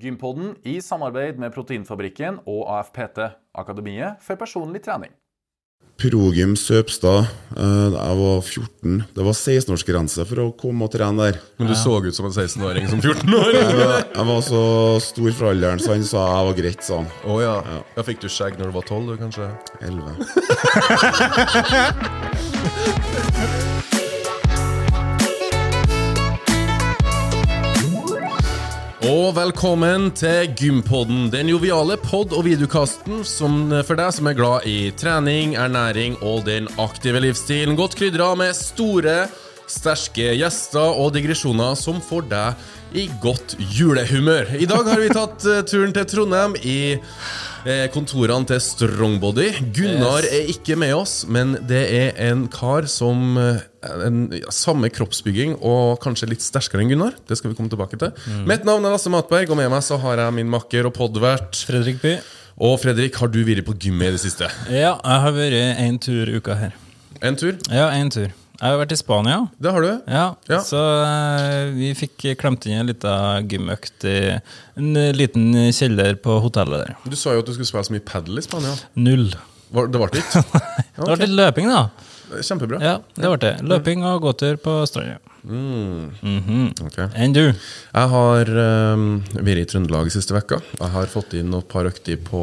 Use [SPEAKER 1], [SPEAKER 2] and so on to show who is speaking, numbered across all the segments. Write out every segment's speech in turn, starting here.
[SPEAKER 1] Gympodden i samarbeid med Proteinfabrikken og AFPT, Akademiet for personlig trening.
[SPEAKER 2] Progym Søpstad. eh, Jeg var 14. Det var 16-årsgrense for å komme og trene der.
[SPEAKER 3] Men du så ut som en 16-åring som 14-åring.
[SPEAKER 2] Jeg var- jeg var så stor for alderen, så han sa jeg var greit, sa han.
[SPEAKER 3] Å ja. ja. Fikk du skjegg når du var 12, du, kanskje?
[SPEAKER 2] 11.
[SPEAKER 3] Og velkommen til Gympodden, den joviale pod- og videokasten som for deg som er glad i trening, ernæring og den aktive livsstilen. Godt krydra med store, sterke gjester og digresjoner som får deg i godt julehumør. I dag har vi tatt eh, turen til Trondheim i eh, kontorene til Strongbody. Gunnar er ikke med oss, men det er en kar som eh, en, ja, Samme kroppsbygging og kanskje litt sterkere enn Gunnar. Det skal vi komme tilbake til.
[SPEAKER 4] Mm.
[SPEAKER 3] Mitt navn er Lasse Matberg, og med meg så har jeg min makker og podvert.
[SPEAKER 4] Fredrik By.
[SPEAKER 3] Og Fredrik, har du vært på gymmet i det siste?
[SPEAKER 4] Ja, jeg har vært en tur uka her.
[SPEAKER 3] En tur?
[SPEAKER 4] Ja, en tur. Jeg har vært i Spania.
[SPEAKER 3] Det har du.
[SPEAKER 4] Ja,
[SPEAKER 3] Ja.
[SPEAKER 4] Så eh, vi fikk klemt inn en liten gymøkt i en liten kjeller på hotellet der.
[SPEAKER 3] Du sa jo at du skulle spille så mye padel i Spania.
[SPEAKER 4] Null.
[SPEAKER 3] Var, det ble ikke?
[SPEAKER 4] Det ble litt løping, da.
[SPEAKER 3] Kjempebra.
[SPEAKER 4] Ja, det ble det. Løping og gåtur på stranda.
[SPEAKER 3] Mm. Ok.
[SPEAKER 4] Enn du?
[SPEAKER 3] Jeg har um, vært i Trøndelag siste vekka. Jeg har fått inn et par økter på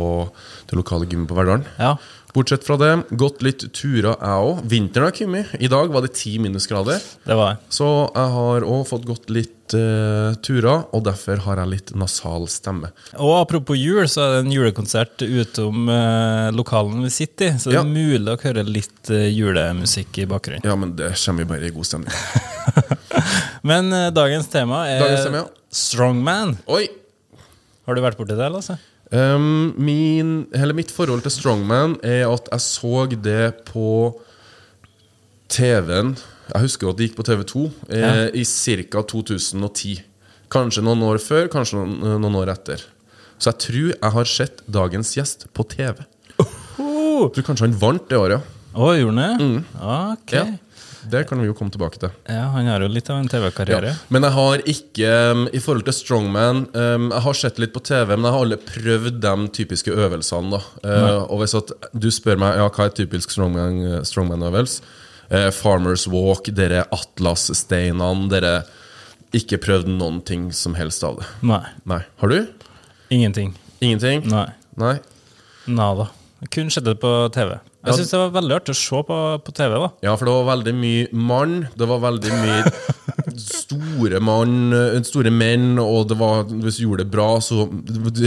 [SPEAKER 3] det lokale gymmet på Verdalen.
[SPEAKER 4] Ja.
[SPEAKER 3] Bortsett fra det, gått litt turer, jeg òg. Vinteren har kommet. I dag var det ti minusgrader.
[SPEAKER 4] Det var jeg.
[SPEAKER 3] Så jeg har òg fått gått litt eh, turer, og derfor har jeg litt nasal stemme.
[SPEAKER 4] Og apropos jul, så er det en julekonsert utom eh, lokalen vi sitter i. Så det
[SPEAKER 3] Ja.
[SPEAKER 4] er mulig å høre litt eh, julemusikk i bakgrunnen.
[SPEAKER 3] Ja, men det kommer vi bare i god stemning.
[SPEAKER 4] Men eh, dagens tema er
[SPEAKER 3] Dagens tema, ja.
[SPEAKER 4] Strongman.
[SPEAKER 3] Oi!
[SPEAKER 4] Har du vært borti det, Lasse?
[SPEAKER 3] Um, min, eller mitt forhold til Strongman er at jeg så det på TV-en Jeg husker at det gikk på TV2 eh,
[SPEAKER 4] Ja.
[SPEAKER 3] i ca. 2010. Kanskje noen år før, kanskje noen, eh, noen år etter. Så jeg tror jeg har sett dagens gjest på TV. Jeg tror kanskje han vant det året.
[SPEAKER 4] Å, gjorde han det? Uhuh! Ok.
[SPEAKER 3] Mm. Ja.
[SPEAKER 4] Ja.
[SPEAKER 3] Det kan vi jo komme tilbake til.
[SPEAKER 4] han har jo litt av en TV-karriere.
[SPEAKER 3] Ja. Men jeg har ikke, um, i forhold til Strongman um, Jeg har sett litt på TV, men jeg har aldri prøvd de typiske øvelsene. da Eh, Og hvis at du spør meg ja, hva er typisk Strongman- Strongman-øvelse Eh, Farmers Walk, dere Atlas-steinene, dere Ikke prøvd noen ting som helst av det.
[SPEAKER 4] Nei.
[SPEAKER 3] Nei. Har du?
[SPEAKER 4] Ingenting.
[SPEAKER 3] Ingenting?
[SPEAKER 4] Nei.
[SPEAKER 3] Nei?
[SPEAKER 4] Nada. Kun skjedde det på TV.
[SPEAKER 3] Ja.
[SPEAKER 4] Jeg syns det var veldig artig å se på, på TV, da.
[SPEAKER 3] Ja, for det var veldig mye mann. Det var veldig mye store mann, eh, store menn, og det var, hvis du gjorde det bra, så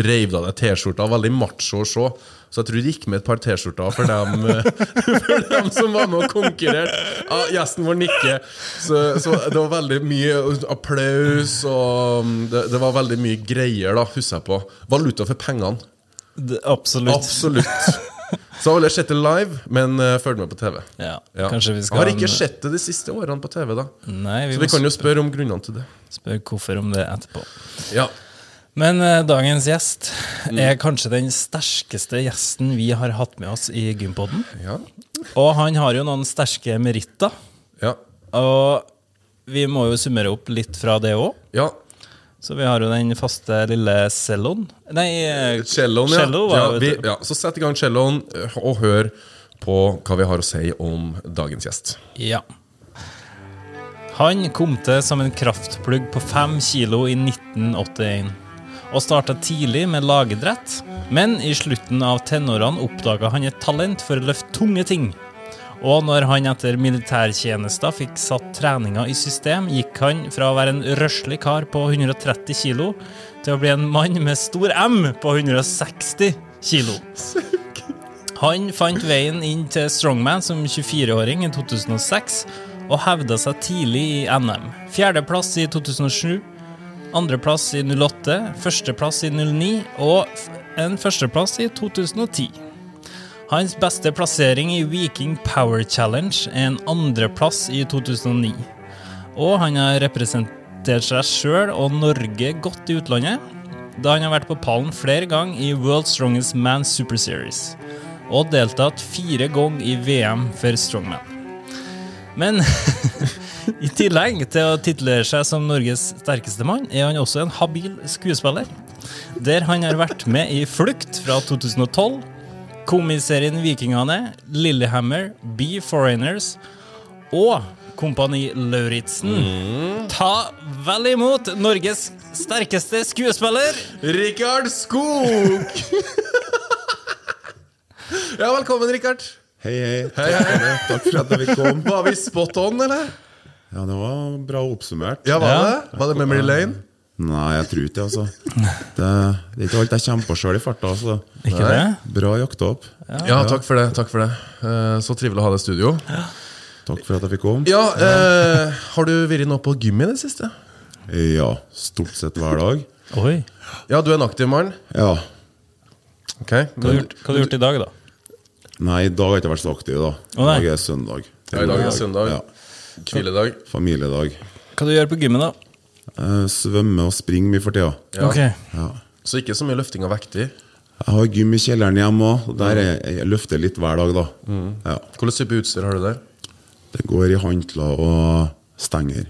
[SPEAKER 3] reiv du av deg T-skjorta. Veldig macho å se. Så jeg tror det gikk med et par T-skjorter for, dem, eh, for dem som var med og konkurrerte. Ja, gjesten vår nikker. Så, så det var veldig mye applaus, og mm, det, det var veldig mye greier, da, husker jeg på. Valuta for pengene.
[SPEAKER 4] Det, absolutt.
[SPEAKER 3] Absolutt. Så jeg har aldri sett det live, men uh, følg med på TV.
[SPEAKER 4] Ja.
[SPEAKER 3] Ja.
[SPEAKER 4] Kanskje vi skal Mm.
[SPEAKER 3] Jeg har ikke sett det de siste årene på TV, da.
[SPEAKER 4] Nei, vi,
[SPEAKER 3] Så vi
[SPEAKER 4] må
[SPEAKER 3] kan jo spørre om grunnene til det.
[SPEAKER 4] spørre hvorfor om det etterpå.
[SPEAKER 3] Ja.
[SPEAKER 4] Men eh, dagens gjest
[SPEAKER 3] Mm.
[SPEAKER 4] er kanskje den sterkeste gjesten vi har hatt med oss i Gympodden.
[SPEAKER 3] Ja.
[SPEAKER 4] Og han har jo noen sterke meritter.
[SPEAKER 3] Ja.
[SPEAKER 4] Og vi må jo summere opp litt fra det òg.
[SPEAKER 3] ja.
[SPEAKER 4] Så vi har jo den faste lille celloen Nei, eh,
[SPEAKER 3] Celloen, ja.
[SPEAKER 4] cello,
[SPEAKER 3] ja,
[SPEAKER 4] var det,
[SPEAKER 3] vi,
[SPEAKER 4] vet du.
[SPEAKER 3] ja. Så sett i gang celloen eh, og hør på hva vi har å si om dagens gjest.
[SPEAKER 4] ja. Han kom til som en kraftplugg på fem kilo i 1981. Og starta tidlig med lagidrett, men i slutten av tenårene oppdaga han et talent for å løfte tunge ting. Og når han etter militærtjenesta fikk satt treninga i system, gikk han fra å være en røslig kar på 130 kilo til å bli en mann med stor M på 160 kilo. Han fant veien inn til Strongman som 24-åring i 2006 og hevda seg tidlig i NM. Fjerdeplass i 2007, andreplass i 08, førsteplass i 09 og f- en førsteplass i 2010. Hans beste plassering i Viking Power Challenge er en andreplass i 2009. Og han har representert seg sjøl og Norge godt i utlandet, da han har vært på pallen flere ganger i World Strongest Man Super Series. Og deltatt fire ganger i VM for strongman. Men i tillegg til å titlere seg som Norges sterkeste mann, er han også en habil skuespiller. der han har vært med i Flukt fra 2012, komiserien Vikingane, Lillehammer, Be Foreigners og Kompani Lauritzen. Mm. Ta vel imot Norges sterkeste skuespiller!
[SPEAKER 3] Rikard Skog! ja, velkommen, Rikard.
[SPEAKER 2] Hei, hei. Takk for, det. Takk for at jeg fikk komme.
[SPEAKER 3] Var vi spot on, eller?
[SPEAKER 2] Ja, det var bra oppsummert.
[SPEAKER 3] Ja, var
[SPEAKER 4] Ja.
[SPEAKER 3] det? Var det Memory Lane?
[SPEAKER 2] Nei, jeg tror ikke det, altså. Det, det er ikke alt jeg kommer på sjøl i farta. Altså.
[SPEAKER 4] Ikke
[SPEAKER 2] Nei.
[SPEAKER 4] det?
[SPEAKER 2] Bra jakta opp.
[SPEAKER 3] Ja, takk for det. takk for det Eh, Så trivelig å ha deg i studio.
[SPEAKER 2] Takk for at jeg fikk komme.
[SPEAKER 3] Ja, eh, Har du vært nå på gym i det siste?
[SPEAKER 2] Ja, stort sett hver dag.
[SPEAKER 4] Oi.
[SPEAKER 3] Ja, du er en aktiv mann.
[SPEAKER 2] Ja.
[SPEAKER 3] Ok
[SPEAKER 4] Hva har du gjort, hva har du gjort i dag, da?
[SPEAKER 2] Nei, i dag har jeg ikke vært så aktiv, da.
[SPEAKER 4] Å,
[SPEAKER 2] I
[SPEAKER 4] nei.
[SPEAKER 2] dag er søndag.
[SPEAKER 3] Ja, i dag er søndag.
[SPEAKER 2] Ja.
[SPEAKER 3] Hviledag.
[SPEAKER 2] Familiedag.
[SPEAKER 4] Hva du gjør på gymmen, da?
[SPEAKER 2] Eh, Svømme og springe mye for tida.
[SPEAKER 3] Ja.
[SPEAKER 4] Ok.
[SPEAKER 2] Ja.
[SPEAKER 3] Så ikke så mye løfting av vekter.
[SPEAKER 2] Jeg har gym i kjelleren hjemme òg. Der jeg, jeg løfter litt hver dag, da.
[SPEAKER 4] Mm.
[SPEAKER 2] Ja.
[SPEAKER 3] Hvilken type utstyr har du der?
[SPEAKER 2] Det går i hantler og stenger.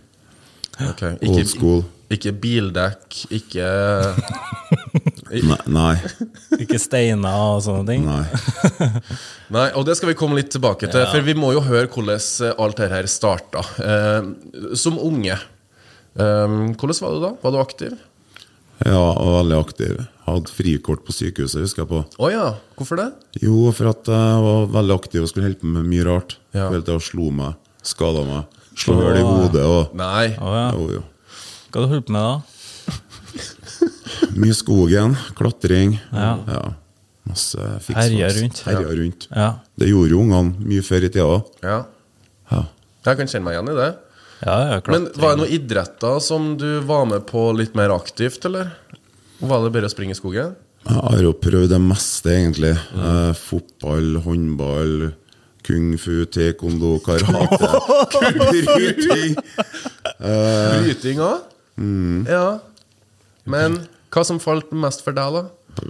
[SPEAKER 3] Ok,
[SPEAKER 2] Old school.
[SPEAKER 3] Ikke bildekk, ikke
[SPEAKER 2] Nei. Nei.
[SPEAKER 4] Ikke steiner og sånne ting?
[SPEAKER 2] nei.
[SPEAKER 3] Nei, og det skal vi komme litt tilbake til, for vi må jo høre hvordan eh, alt dette her starta. Eh, som unge, eh, hvordan var du da? Var du aktiv?
[SPEAKER 2] Ja, og veldig aktiv. Hadde frikort på sykehuset, husker jeg på.
[SPEAKER 3] Å ja, hvorfor det?
[SPEAKER 2] Jo, for at jeg var veldig aktiv og skulle holde på med mye rart.
[SPEAKER 3] Ja.
[SPEAKER 2] Helt til jeg slo meg, skada meg, slo hull i hodet og
[SPEAKER 3] Nei.
[SPEAKER 4] Å ja.
[SPEAKER 2] jo, jo.
[SPEAKER 4] Hva har du holdt på med da?
[SPEAKER 2] Mye i skogen, klatring. Ja. Masse fiks og
[SPEAKER 4] Herja
[SPEAKER 2] faks.
[SPEAKER 4] rundt.
[SPEAKER 2] Herja rundt.
[SPEAKER 4] Ja.
[SPEAKER 2] Det gjorde jo ungene mye før i tida òg.
[SPEAKER 3] Ja.
[SPEAKER 2] Ja.
[SPEAKER 3] Jeg kan kjenne meg igjen i det.
[SPEAKER 4] Ja, ja, klart.
[SPEAKER 3] Men var det noen idretter som du var med på litt mer aktivt, eller? Var det bare å springe i skogen?
[SPEAKER 2] Jeg har jo prøvd det meste, egentlig. Eh, fotball, håndball, kung fu, taekwondo, karate. Bryting.
[SPEAKER 3] Bryting òg? Ja. Men hva som falt mest for deg, da?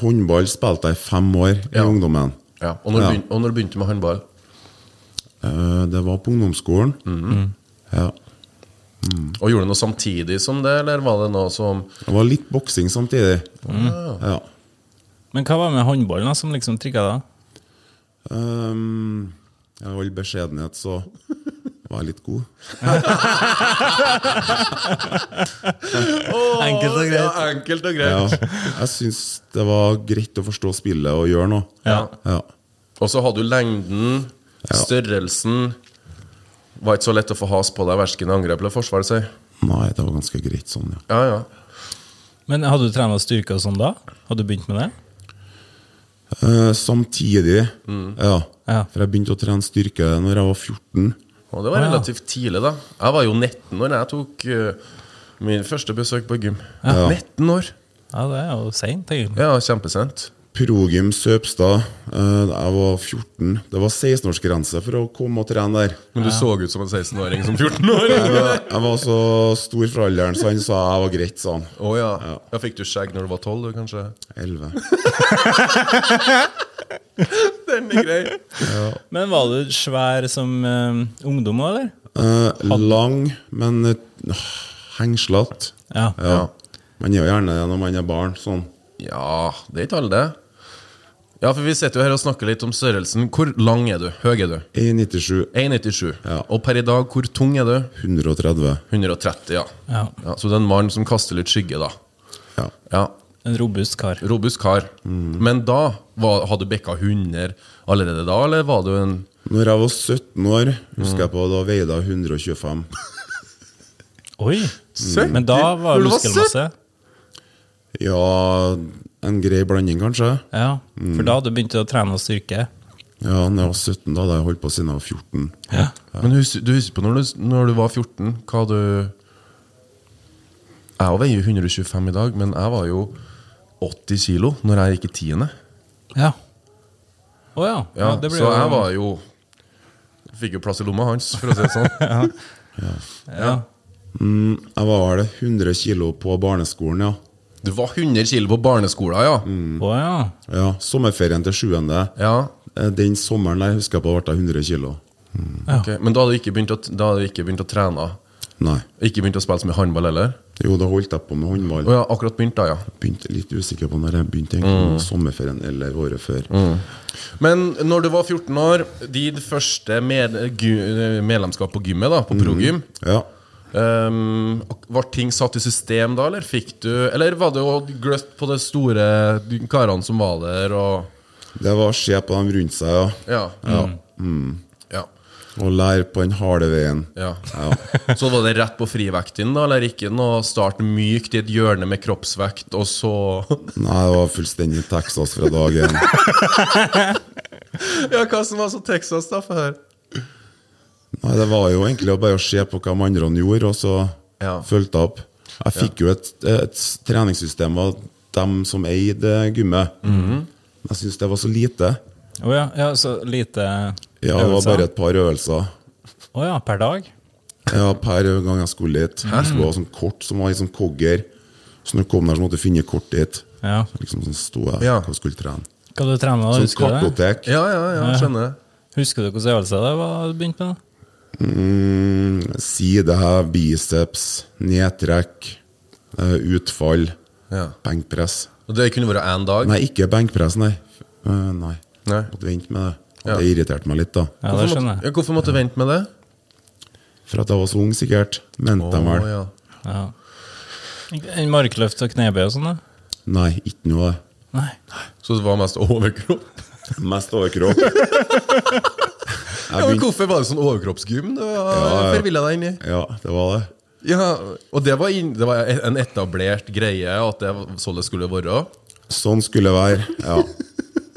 [SPEAKER 2] Håndball spilte jeg i fem år i
[SPEAKER 3] Ja.
[SPEAKER 2] ungdommen.
[SPEAKER 3] Ja, og, når
[SPEAKER 2] Ja.
[SPEAKER 3] Begynte, og når du begynte med håndball?
[SPEAKER 2] Eh, det var på ungdomsskolen. Ja.
[SPEAKER 3] Og Gjorde du noe samtidig som det, eller var det noe som
[SPEAKER 2] Det var litt boksing samtidig. Ja.
[SPEAKER 4] Men hva var det med håndballen da, som liksom trigga deg?
[SPEAKER 2] Um, I all beskjedenhet så var jeg litt god.
[SPEAKER 4] Enkelt og greit.
[SPEAKER 3] Ja, enkelt og greit.
[SPEAKER 2] Ja. Jeg syns det var greit å forstå spillet og gjøre noe.
[SPEAKER 4] Ja.
[SPEAKER 2] Ja.
[SPEAKER 3] Og så hadde du lengden,
[SPEAKER 2] Ja.
[SPEAKER 3] størrelsen Var ikke så lett å få has på deg, verken i angrep eller forsvar, si.
[SPEAKER 2] Nei, det var ganske greit sånn, ja.
[SPEAKER 3] Ja, ja.
[SPEAKER 4] Men hadde du trena styrke og sånn da? Hadde du begynt med det?
[SPEAKER 2] Eh, samtidig, ja.
[SPEAKER 4] Ja.
[SPEAKER 2] For jeg begynte å trene styrke når jeg var 14.
[SPEAKER 3] Og det var relativt tidlig, da. Jeg var jo 19 år da jeg tok uh, min første besøk på gym. 19 år!
[SPEAKER 4] Ja, det er jo seint, egentlig.
[SPEAKER 3] Ja, kjempesent.
[SPEAKER 2] Progym Søpstad. eh, da jeg var 14. Det var 16-årsgrense for å komme og trene der.
[SPEAKER 3] Men du så ut som en 16-åring som 14-åring!
[SPEAKER 2] Jeg var, jeg var så stor for alderen, så han sa jeg var greit, sa han.
[SPEAKER 3] Å ja. ja. Fikk du skjegg når du var 12, du, kanskje?
[SPEAKER 2] 11.
[SPEAKER 3] Den er grei.
[SPEAKER 4] Men var du svær som eh, ungdom òg, eller?
[SPEAKER 2] Eh, lang, men uh, hengslete.
[SPEAKER 4] Ja.
[SPEAKER 2] Ja. Man er jo gjerne det når man er barn. Sånn.
[SPEAKER 3] Ja, det er ikke alle det. Ja, for vi sitter jo her og snakker litt om størrelsen. Hvor lang er du? Høy er du?
[SPEAKER 2] E 1,97.
[SPEAKER 3] 1,97. Og per i dag, hvor tung er du?
[SPEAKER 2] 130.
[SPEAKER 3] 130, ja.
[SPEAKER 4] ja.
[SPEAKER 3] ja så du er en mann som kaster litt skygge, da.
[SPEAKER 2] Ja.
[SPEAKER 3] Ja,
[SPEAKER 4] En robust kar.
[SPEAKER 3] Robust kar. Men da, var, hadde du bikka 100 allerede da, eller var du en
[SPEAKER 2] Når jeg var 17 år, husker jeg på da veide jeg 125.
[SPEAKER 4] Oi!
[SPEAKER 3] Søren.
[SPEAKER 4] Men da var
[SPEAKER 3] Når du
[SPEAKER 4] det
[SPEAKER 3] var
[SPEAKER 4] muskelmasse.
[SPEAKER 2] Ja, en grei blanding, kanskje.
[SPEAKER 4] Ja.
[SPEAKER 3] Mm.
[SPEAKER 4] For da hadde du begynt å trene og styrke.
[SPEAKER 2] Ja, når jeg var 17, da hadde jeg holdt på siden jeg var 14.
[SPEAKER 4] Ja.
[SPEAKER 3] Men hus, du husker på når du, når du var 14, hva du Jeg også veier jo 125 i dag, men jeg var jo 80 kilo når jeg gikk i tiende.
[SPEAKER 4] ja. Å ja.
[SPEAKER 3] Ja,
[SPEAKER 4] det ble
[SPEAKER 3] så
[SPEAKER 4] jo-
[SPEAKER 3] jeg var jo Fikk jo plass i lomma hans, for å si det sånn.
[SPEAKER 4] ja.
[SPEAKER 2] Mm, jeg var vel 100 kilo på barneskolen, ja.
[SPEAKER 3] Du var 100 kilo på barneskolen, ja.
[SPEAKER 4] Å ja.
[SPEAKER 2] ja sommerferien til 7.
[SPEAKER 3] Mm. ja
[SPEAKER 2] Eh, Den sommeren der husker jeg på ble jeg 100 kilo.
[SPEAKER 3] ok. Men da hadde du ikke begynt å, da hadde du ikke begynt å trene?
[SPEAKER 2] Nei.
[SPEAKER 3] Ikke begynt å spille så mye håndball heller?
[SPEAKER 2] Jo, da holdt jeg på med håndball.
[SPEAKER 3] Å ja, akkurat begynt da, ja.
[SPEAKER 2] Begynte litt usikker på når jeg begynte, egentlig, sommerferien eller året før.
[SPEAKER 3] Men når du var 14 år, ditt første med, gu, eh, medlemskap på gymmet, da, på progym
[SPEAKER 2] Ja.
[SPEAKER 3] ehm, Var ting satt i system da, eller fikk du Eller var det jo gløtt på de store karene som var der, og
[SPEAKER 2] Det var å se på dem rundt seg, ja.
[SPEAKER 3] Ja. Ja.
[SPEAKER 2] Mm.
[SPEAKER 3] ja.
[SPEAKER 2] Og lære på den harde veien.
[SPEAKER 3] Så var det rett på frivekten, da, eller ikke noe start mykt i et hjørne med kroppsvekt, og så
[SPEAKER 2] Nei, det var fullstendig Texas fra dag én.
[SPEAKER 3] Ja, hva som var så Texas, da, for her?
[SPEAKER 2] Nei, det var jo egentlig å bare se på hva de andre gjorde, og så
[SPEAKER 3] Ja.
[SPEAKER 2] fulgte jeg opp. Jeg fikk jo et, et treningssystem av dem som eide gymmet. Jeg syns det var så lite.
[SPEAKER 4] Å ja, ja, så lite
[SPEAKER 2] Ja, det var bare et par øvelser.
[SPEAKER 4] Å ja, per dag?
[SPEAKER 2] Ja, per gang jeg skulle dit. Jeg skulle ha sånn kort som var i sånn kogger. Så når jeg kom der, så måtte jeg finne kort dit.
[SPEAKER 4] Ja.
[SPEAKER 2] Liksom sånn sto jeg
[SPEAKER 3] Ja.
[SPEAKER 2] og skulle trene.
[SPEAKER 4] Hva du trener da,
[SPEAKER 2] Sånn
[SPEAKER 4] husker du det?
[SPEAKER 2] kartotek.
[SPEAKER 3] Ja, ja, ja, skjønner.
[SPEAKER 4] Husker du hvilken øvelse det var du begynte med?
[SPEAKER 2] Mm, sidehev, biceps, nedtrekk, eh, utfall,
[SPEAKER 3] Ja.
[SPEAKER 2] benkpress.
[SPEAKER 3] Og det kunne vært én dag?
[SPEAKER 2] Nei, ikke benkpress, nei. Eh, nei.
[SPEAKER 3] Nei.
[SPEAKER 2] Måtte vente med det. Og
[SPEAKER 3] Ja.
[SPEAKER 2] Det irriterte meg litt, da.
[SPEAKER 4] Ja, det
[SPEAKER 3] Hvorfor
[SPEAKER 4] skjønner
[SPEAKER 3] måtte-
[SPEAKER 4] jeg.
[SPEAKER 3] Ja, hvorfor måtte du vente med det?
[SPEAKER 2] For at jeg var så ung, sikkert. Mente jeg
[SPEAKER 3] Å,
[SPEAKER 2] vel.
[SPEAKER 3] ja.
[SPEAKER 4] Ja. En Markløft og knebøy og sånn, da?
[SPEAKER 2] Nei, ikke noe av det.
[SPEAKER 4] Nei.
[SPEAKER 3] Så det var mest overkropp?
[SPEAKER 2] Mest overkropp. jeg
[SPEAKER 3] Ja, men
[SPEAKER 2] begynte,
[SPEAKER 3] hvorfor var det sånn overkroppsgym? Det var
[SPEAKER 2] Ja, ja.
[SPEAKER 3] forvillet deg inn i.
[SPEAKER 2] ja, det var det.
[SPEAKER 3] Ja, og det var, inn, det var en etablert greie at det var sånn det skulle være.
[SPEAKER 2] Sånn skulle det være. Ja.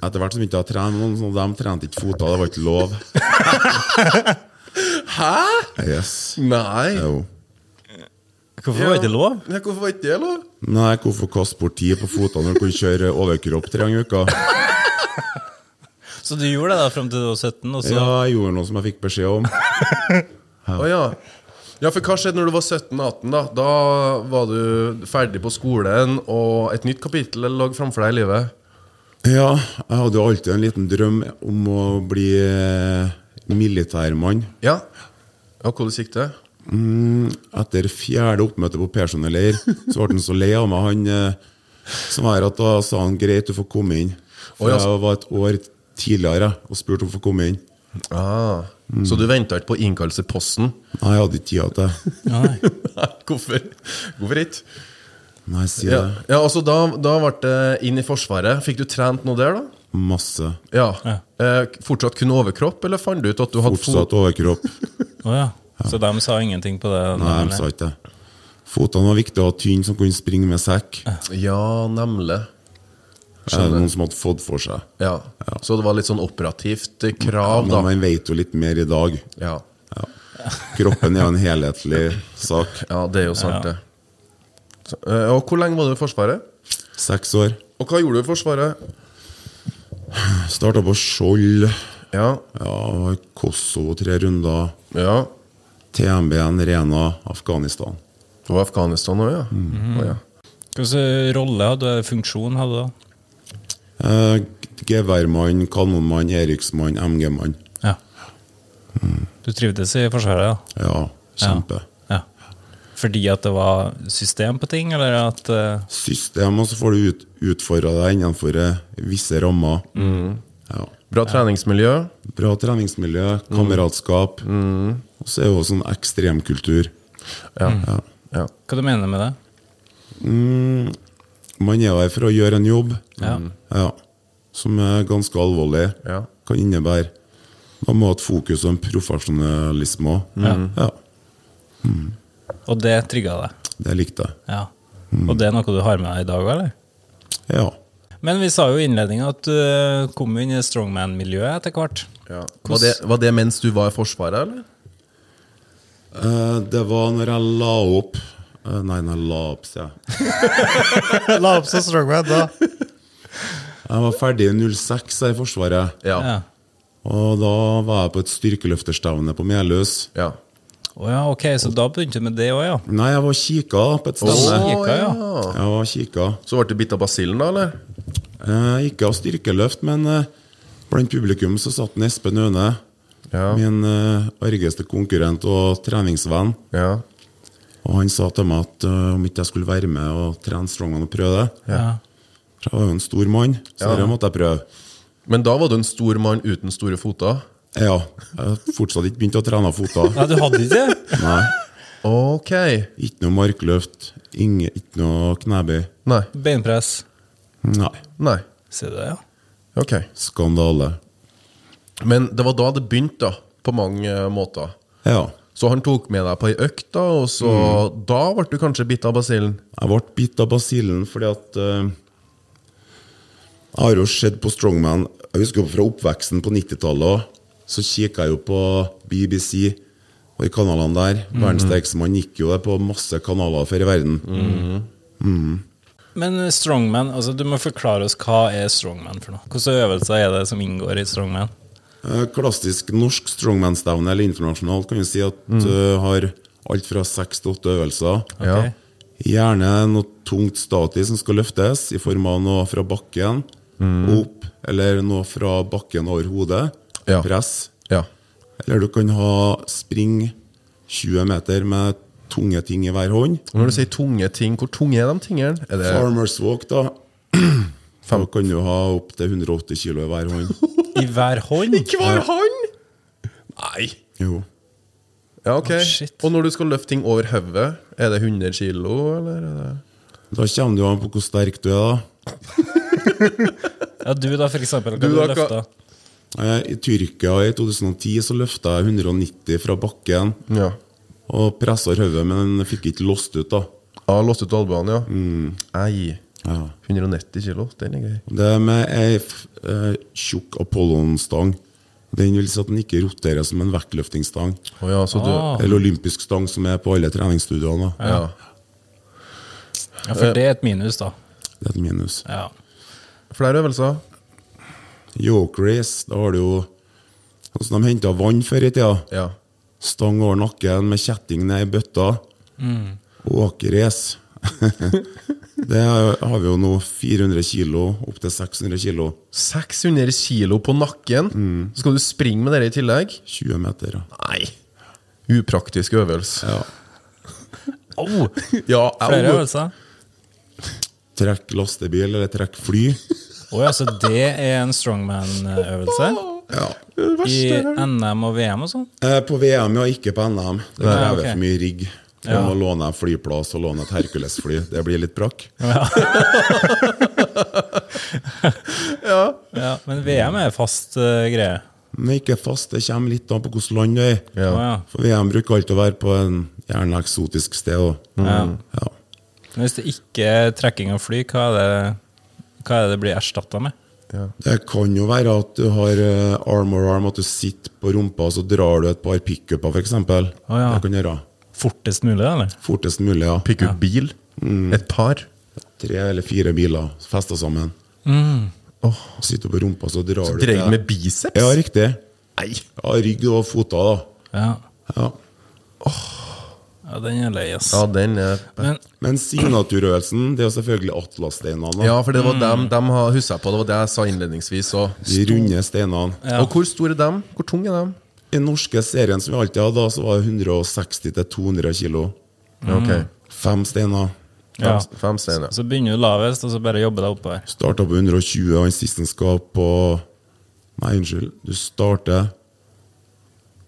[SPEAKER 2] Etter hvert som ikke jeg trente noen, så de trente ikke fota. Det var ikke lov.
[SPEAKER 3] Hæ?
[SPEAKER 2] Yes.
[SPEAKER 3] Nei.
[SPEAKER 2] Jo.
[SPEAKER 4] Hvorfor var det ikke lov?
[SPEAKER 3] Nei, hvorfor var ikke det lov?
[SPEAKER 2] Nei, hvorfor kaste bort tid på fota når du kan kjøre overkropp tre ganger i uka?
[SPEAKER 4] Så du gjorde det da fram til du var 17? Og så,
[SPEAKER 2] Ja, jeg gjorde noe som jeg fikk beskjed om.
[SPEAKER 3] Å ja. Ja, for hva skjedde når du var 17-18? Da Da var du ferdig på skolen, og et nytt kapittel lå framfor deg i livet.
[SPEAKER 2] Ja, jeg hadde jo alltid en liten drøm om å bli eh, militærmann.
[SPEAKER 3] Ja. ja hvordan gikk det?
[SPEAKER 2] Etter fjerde oppmøte på personelleir så ble han så lei av meg, han eh, som er at da sa han greit, du får komme inn.
[SPEAKER 3] Å,
[SPEAKER 2] For
[SPEAKER 3] ja,
[SPEAKER 2] jeg var et år tidligere og spurte om å få komme inn.
[SPEAKER 3] Ah. Så du venta ikke på innkallelse i posten?
[SPEAKER 2] Nei, jeg hadde ikke tida til det.
[SPEAKER 4] Ja, nei.
[SPEAKER 3] Nei, hvorfor? Hvorfor ikke?
[SPEAKER 2] Nei, si
[SPEAKER 3] Ja,
[SPEAKER 2] det.
[SPEAKER 3] ja altså da, da ble det inn i Forsvaret. Fikk du trent noe der, da?
[SPEAKER 2] Masse.
[SPEAKER 3] Ja. Eh, fortsatt kun overkropp, eller fant du ut at du hadde
[SPEAKER 2] Fortsatt overkropp.
[SPEAKER 4] Å ja. Så de sa ingenting på det?
[SPEAKER 2] Nei, de sa ikke det. Fotene var viktig å ha tynne som kunne springe med sekk. Er
[SPEAKER 3] fot... Ja, nemlig.
[SPEAKER 2] det noen som hadde fått for seg.
[SPEAKER 3] Ja. Så det var litt sånn operativt eh, krav,
[SPEAKER 2] Men
[SPEAKER 3] da.
[SPEAKER 2] man vet jo litt mer i dag.
[SPEAKER 3] Ja.
[SPEAKER 2] Kroppen er jo en helhetlig sak.
[SPEAKER 3] ja, det er jo sant, det. Så, eh, og hvor lenge var du i Forsvaret?
[SPEAKER 2] Seks år.
[SPEAKER 3] Og hva gjorde du i Forsvaret?
[SPEAKER 2] Starta på Skjold.
[SPEAKER 3] Ja.
[SPEAKER 2] Ja, var i Kosovo tre runder.
[SPEAKER 3] ja.
[SPEAKER 2] TMB-en, Rena, Afghanistan.
[SPEAKER 3] Du var i Afghanistan òg, ja. Å, ja.
[SPEAKER 4] Hvilken rolle hadde du? Funksjon hadde du da?
[SPEAKER 2] Eh, Geværmann, kanonmann, Eriksmann, MG-mann.
[SPEAKER 4] Ja.
[SPEAKER 2] Mm.
[SPEAKER 4] Du trivdes i Forsvaret,
[SPEAKER 2] Ja, kjempe.
[SPEAKER 4] da? Ja. Fordi at det var system på ting, eller at eh,
[SPEAKER 2] System, og så får du ut, utfordra deg innenfor eh, visse rammer. Ja.
[SPEAKER 3] Bra treningsmiljø.
[SPEAKER 2] Bra treningsmiljø, kameratskap. Og så er det jo sånn ekstremkultur.
[SPEAKER 3] Ja. ja.
[SPEAKER 4] Hva du mener med det?
[SPEAKER 2] Man er der for å gjøre en jobb
[SPEAKER 4] Ja.
[SPEAKER 2] ja, som er ganske alvorlig.
[SPEAKER 3] Ja.
[SPEAKER 2] Kan innebære Man må ha et fokus og en profesjonalisme òg. Ja.
[SPEAKER 4] Og det trigga deg?
[SPEAKER 2] det likte jeg.
[SPEAKER 4] Ja. Og det er noe du har med deg i dag òg, eller?
[SPEAKER 2] Ja.
[SPEAKER 4] Men vi sa jo i innledninga at du kom inn i strongman-miljøet etter hvert.
[SPEAKER 3] ja. Var, det, var det mens du var i Forsvaret, eller?
[SPEAKER 2] Eh, det var når jeg la opp eh, Nei, når jeg la opp, sier jeg.
[SPEAKER 4] La opp som strongman, da.
[SPEAKER 2] Jeg var ferdig i 06 her i Forsvaret.
[SPEAKER 3] Ja.
[SPEAKER 4] Ja.
[SPEAKER 2] Og da var jeg på et styrkeløfterstevne på Meløs.
[SPEAKER 3] ja.
[SPEAKER 4] Å ja, ok, så da begynte du med det òg, ja.
[SPEAKER 2] Nei, jeg var og kika på et stevne.
[SPEAKER 4] Å, Kika, ja.
[SPEAKER 2] Jeg var og kika.
[SPEAKER 3] Så ble du bitt av basillen, da? eller?
[SPEAKER 2] Eh, ikke av styrkeløft, men eh, blant publikum så satt en Espen Aune,
[SPEAKER 3] Ja.
[SPEAKER 2] min eh, argeste konkurrent og treningsvenn.
[SPEAKER 3] Ja.
[SPEAKER 2] Og Og han sa til meg at øh, om ikke jeg skulle være med og trene strongman og prøve det
[SPEAKER 4] Ja.
[SPEAKER 2] For jeg var jo en stor mann, så det måtte jeg prøve.
[SPEAKER 3] Men da var du en stor mann uten store foter.
[SPEAKER 2] Ja, jeg har fortsatt ikke begynt å trene føtter.
[SPEAKER 4] Nei, du hadde ikke det?
[SPEAKER 2] Nei.
[SPEAKER 3] Ok.
[SPEAKER 2] Ikke noe markløft, ingen, ikke noe knebøy.
[SPEAKER 3] Nei.
[SPEAKER 4] Beinpress.
[SPEAKER 2] Nei.
[SPEAKER 3] Nei.
[SPEAKER 4] Ser du det, ja?
[SPEAKER 3] Ok.
[SPEAKER 2] Skandale.
[SPEAKER 3] Men det var da det begynte, da. På mange eh, måter.
[SPEAKER 2] Ja.
[SPEAKER 3] Så han tok med deg på ei økt, da, og så Da ble du kanskje bitt av basillen?
[SPEAKER 2] Jeg ble bitt av basillen fordi at eh, Jeg har jo sett på Strongman Jeg husker jo fra oppveksten på 90-tallet også, Så kikket jeg jo på BBC og i kanalene der. Verdens sterkeste mann gikk jo der på masse kanaler før i verden.
[SPEAKER 4] Men strongman, altså du må forklare oss hva er strongman for noe? Hvilke øvelser er det som inngår i strongman?
[SPEAKER 2] Eh, klassisk norsk strongman-stevne eller internasjonalt kan vi si at eh, har alt fra seks til åtte øvelser.
[SPEAKER 3] Ja.
[SPEAKER 2] Gjerne noe tungt statisk som skal løftes, i form av noe fra bakken
[SPEAKER 3] Mm.
[SPEAKER 2] opp, eller noe fra bakken over hodet.
[SPEAKER 3] Ja.
[SPEAKER 2] Press.
[SPEAKER 3] Ja.
[SPEAKER 2] Eller du kan ha spring 20 meter med tunge ting i hver hånd.
[SPEAKER 3] Og når du sier tunge ting, hvor tunge er de tingene? Er det
[SPEAKER 2] Farmers walk, da. Da kan du ha opptil 180 kilo i hver hånd.
[SPEAKER 4] I hver hånd?
[SPEAKER 3] Hver hånd?! Nei.
[SPEAKER 2] Jo.
[SPEAKER 3] Ja, ok.
[SPEAKER 4] Å, shit.
[SPEAKER 3] og når du skal løfte ting over hodet, er det 100 kilo, eller? Er det...
[SPEAKER 2] Da kommer det jo an på hvor sterk du er, da.
[SPEAKER 4] Ja, du da, for eksempel. Hva
[SPEAKER 3] Du
[SPEAKER 4] du
[SPEAKER 3] da, hva-
[SPEAKER 4] løfta?
[SPEAKER 2] Eh, I Tyrkia i 2010 så løfta jeg 190 fra bakken
[SPEAKER 3] Ja.
[SPEAKER 2] og pressa hodet, men den fikk ikke låst ut. da.
[SPEAKER 3] Ah, låst ut albuene, ja. Ei.
[SPEAKER 2] Ja.
[SPEAKER 3] 190 kilo, den er grei.
[SPEAKER 2] Det er med ei f- eh, tjukk apollonstang. Den vil si at den ikke roterer som en vektløftingsstang.
[SPEAKER 3] Å ja, så du
[SPEAKER 4] Ah.
[SPEAKER 2] Eller olympisk stang, som er på alle treningsstudioene. da.
[SPEAKER 3] ja.
[SPEAKER 4] Ja,
[SPEAKER 3] Eh.
[SPEAKER 4] for det er et minus, da.
[SPEAKER 2] Det er et minus.
[SPEAKER 4] Ja.
[SPEAKER 3] Flere øvelser?
[SPEAKER 2] Yoke race, da har du jo Sånn som de henta vann før i tida.
[SPEAKER 3] Ja.
[SPEAKER 2] Stang over nakken med kjetting ned i bøtta. Åkerrace. det har vi jo nå. 400 kilo opp til 600 kilo.
[SPEAKER 3] 600 kilo på nakken,
[SPEAKER 2] Mm.
[SPEAKER 3] så skal du springe med det i tillegg?
[SPEAKER 2] 20 meter. ja.
[SPEAKER 3] Nei. Upraktisk øvelse.
[SPEAKER 2] Ja.
[SPEAKER 4] Au!
[SPEAKER 3] Ja,
[SPEAKER 4] Flere
[SPEAKER 3] au.
[SPEAKER 4] øvelser?
[SPEAKER 2] Trekk lastebil eller trekk fly.
[SPEAKER 4] Å ja, så det er en strongman-øvelse?
[SPEAKER 3] Det
[SPEAKER 4] I
[SPEAKER 3] verste er det.
[SPEAKER 4] NM og VM og sånn?
[SPEAKER 2] Eh, På VM, ja. Ikke på NM. Det
[SPEAKER 4] Nei,
[SPEAKER 2] krever
[SPEAKER 4] ok.
[SPEAKER 2] for mye rigg. Du må låne en flyplass og låne et Hercules-fly. Det blir litt brakk.
[SPEAKER 4] Ja, men VM er fast eh, greie.
[SPEAKER 2] Men ikke fast. Det kommer litt an på hvilket land du er i.
[SPEAKER 4] Å
[SPEAKER 3] Ja.
[SPEAKER 4] ja.
[SPEAKER 2] For VM bruker alltid å være på en gjerne eksotisk sted. Og, ja.
[SPEAKER 4] Men hvis det ikke er trekking av fly, hva er det hva er det, det blir erstatta med?
[SPEAKER 2] Det kan jo være at du har eh, arm or arm, at du sitter på rumpa og så drar du et par pickuper, f.eks.
[SPEAKER 4] Å, ja.
[SPEAKER 2] Det kan gjøre.
[SPEAKER 4] Fortest mulig, eller?
[SPEAKER 2] Fortest mulig, ja.
[SPEAKER 3] Pick up bil.
[SPEAKER 2] Mm.
[SPEAKER 3] Et par.
[SPEAKER 2] Tre eller fire biler festa sammen.
[SPEAKER 4] Mm.
[SPEAKER 3] Åh,
[SPEAKER 2] Sitter på rumpa, så drar du
[SPEAKER 3] Dreier med biceps?
[SPEAKER 2] Ja, riktig.
[SPEAKER 3] Nei.
[SPEAKER 2] Ja, rygg og føtter, da.
[SPEAKER 4] Ja,
[SPEAKER 2] Ja.
[SPEAKER 4] ja den er lei, ass.
[SPEAKER 3] Ja, den er
[SPEAKER 4] Men
[SPEAKER 2] Men signaturøvelsen, det er jo selvfølgelig atlassteinene. da.
[SPEAKER 3] Ja, for det var dem,
[SPEAKER 4] Mm.
[SPEAKER 3] dem har huska på. Det var det jeg sa innledningsvis. Så.
[SPEAKER 2] De runde steinene.
[SPEAKER 4] Ja.
[SPEAKER 3] Og hvor store er dem? Hvor tunge er dem?
[SPEAKER 2] I den norske serien som vi alltid hadde, da, så var det 160-200 kilo.
[SPEAKER 3] Ja, Ok,
[SPEAKER 2] Fem steiner.
[SPEAKER 4] Mm. ja.
[SPEAKER 3] Fem, fem stein, ja.
[SPEAKER 4] Så begynner du lavest, og så bare jobber deg oppover.
[SPEAKER 2] Starta på 120, og den siste skal på Nei, unnskyld. Du starter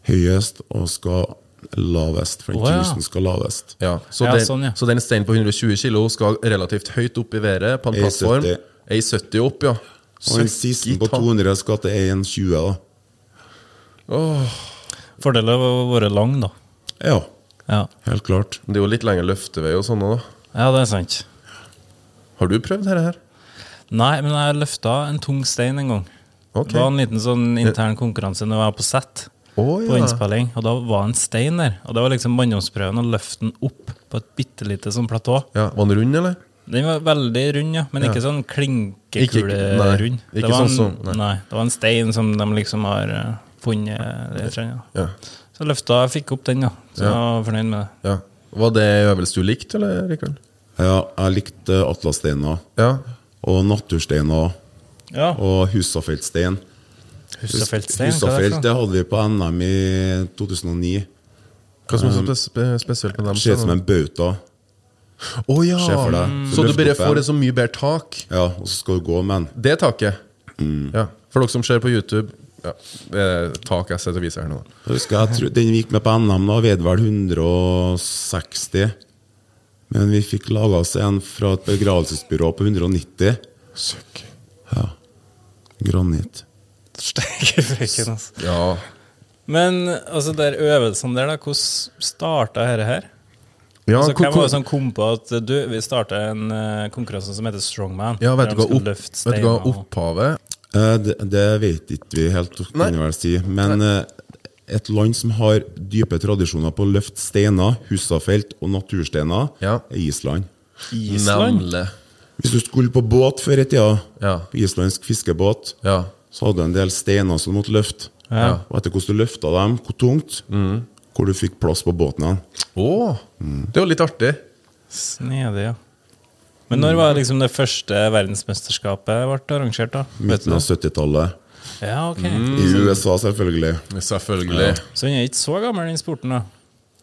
[SPEAKER 2] høyest og skal lavest, for den
[SPEAKER 4] Å, ja.
[SPEAKER 2] tusen skal lavest.
[SPEAKER 3] Ja, så,
[SPEAKER 4] Ja,
[SPEAKER 3] den,
[SPEAKER 4] sånn, ja.
[SPEAKER 3] så den steinen på 120 kilo skal relativt høyt opp i været på en
[SPEAKER 2] A70.
[SPEAKER 3] plattform. A70 opp, ja.
[SPEAKER 2] Og den siste på 200 skal til 1,20, da.
[SPEAKER 4] Fordelen av å være lang, da.
[SPEAKER 2] Ja,
[SPEAKER 4] Ja,
[SPEAKER 2] helt klart.
[SPEAKER 3] Det er jo litt lengre løftevei og sånn òg.
[SPEAKER 4] ja det er sant.
[SPEAKER 3] Har du prøvd dette her?
[SPEAKER 4] Nei, men jeg løfta en tung stein en gang.
[SPEAKER 3] Ok.
[SPEAKER 4] Det var en liten sånn intern konkurranse når jeg var på sett.
[SPEAKER 3] Å,
[SPEAKER 4] På
[SPEAKER 3] ja.
[SPEAKER 4] innspilling, og da var en stein der. Og det var liksom manndomsprøven å løfte den opp på et bitte lite sånn platå.
[SPEAKER 3] Ja, Var den rund, eller?
[SPEAKER 4] Den var veldig rund, ja, men ikke sånn
[SPEAKER 3] Ikke- nei,
[SPEAKER 4] klinkekule-rund.
[SPEAKER 3] ikke
[SPEAKER 4] Det var en-
[SPEAKER 3] sånn som- nei.
[SPEAKER 4] Nei, det var en stein som de liksom har eh, funnet det jeg trenger.
[SPEAKER 3] Ja.
[SPEAKER 4] Så løfta jeg fikk opp den, da. Så jeg var fornøyd med det.
[SPEAKER 3] ja. Var det en øvelse du likte, eller, Rikard?
[SPEAKER 2] Ja, jeg likte atlassteiner
[SPEAKER 3] Ja.
[SPEAKER 2] og natursteiner
[SPEAKER 4] Ja,
[SPEAKER 2] og Husafeltstein.
[SPEAKER 4] Husafelt stein, hva er
[SPEAKER 2] Husafelt,
[SPEAKER 4] det for noe?
[SPEAKER 2] det hadde vi på NM i 2009.
[SPEAKER 3] Hva som er så spe spesielt med dem?
[SPEAKER 2] Ser ut som en bauta.
[SPEAKER 3] Å ja. Mm.
[SPEAKER 2] Ser for deg.
[SPEAKER 3] Så du
[SPEAKER 2] løfter
[SPEAKER 3] bare
[SPEAKER 2] opp en.
[SPEAKER 3] får et så mye bedre tak?
[SPEAKER 2] Ja, og så skal du gå med den.
[SPEAKER 3] Det taket. Ja. For dere som ser på YouTube ja, eh, Tak jeg sitter og viser her nå.
[SPEAKER 2] Da husker jeg, jeg tror, Den vi gikk med på NM, da veide vel 160. Men vi fikk laga oss en fra et begravelsesbyrå på 190.
[SPEAKER 3] Søkk.
[SPEAKER 2] Ja. Granit.
[SPEAKER 4] Steike frøken, altså.
[SPEAKER 3] Ja.
[SPEAKER 4] Men altså, der øvelsene der, da, hvordan starta dette her?
[SPEAKER 3] Ja,
[SPEAKER 4] altså,
[SPEAKER 3] hvor-
[SPEAKER 4] hvem var
[SPEAKER 3] hvor-
[SPEAKER 4] det som kom på at du, vi starta en eh, konkurranse som heter Strongman?
[SPEAKER 3] ja, vet du
[SPEAKER 4] der de
[SPEAKER 3] hva
[SPEAKER 4] skal
[SPEAKER 3] opp-
[SPEAKER 4] løfte
[SPEAKER 3] vet du hva
[SPEAKER 4] steiner og-
[SPEAKER 3] opphavet
[SPEAKER 2] Eh, Det, det vet ikke vi helt, kan
[SPEAKER 3] Nei.
[SPEAKER 2] jeg vel si. Men eh, et land som har dype tradisjoner på å løfte steiner, husafelt og natursteiner,
[SPEAKER 3] Ja.
[SPEAKER 2] er Island.
[SPEAKER 4] Island?
[SPEAKER 3] Nemlig.
[SPEAKER 2] Hvis du skulle på båt før i tida,
[SPEAKER 3] Ja.
[SPEAKER 2] på islandsk fiskebåt,
[SPEAKER 3] Ja.
[SPEAKER 2] så hadde du en del steiner som du måtte løfte.
[SPEAKER 4] Ja.
[SPEAKER 2] Og etter hvordan du løfta dem, hvor tungt,
[SPEAKER 3] Mm.
[SPEAKER 2] hvor du fikk plass på båten hen.
[SPEAKER 3] Å! Det er jo litt artig.
[SPEAKER 4] Snedig, ja. Men når var liksom det første verdensmesterskapet ble arrangert, da? Vet du
[SPEAKER 2] Midten av
[SPEAKER 4] det?
[SPEAKER 2] 70-tallet.
[SPEAKER 4] Ja, ok.
[SPEAKER 3] Mm.
[SPEAKER 2] I USA, selvfølgelig.
[SPEAKER 3] Selvfølgelig.
[SPEAKER 4] Så han er ikke så gammel, den sporten, da?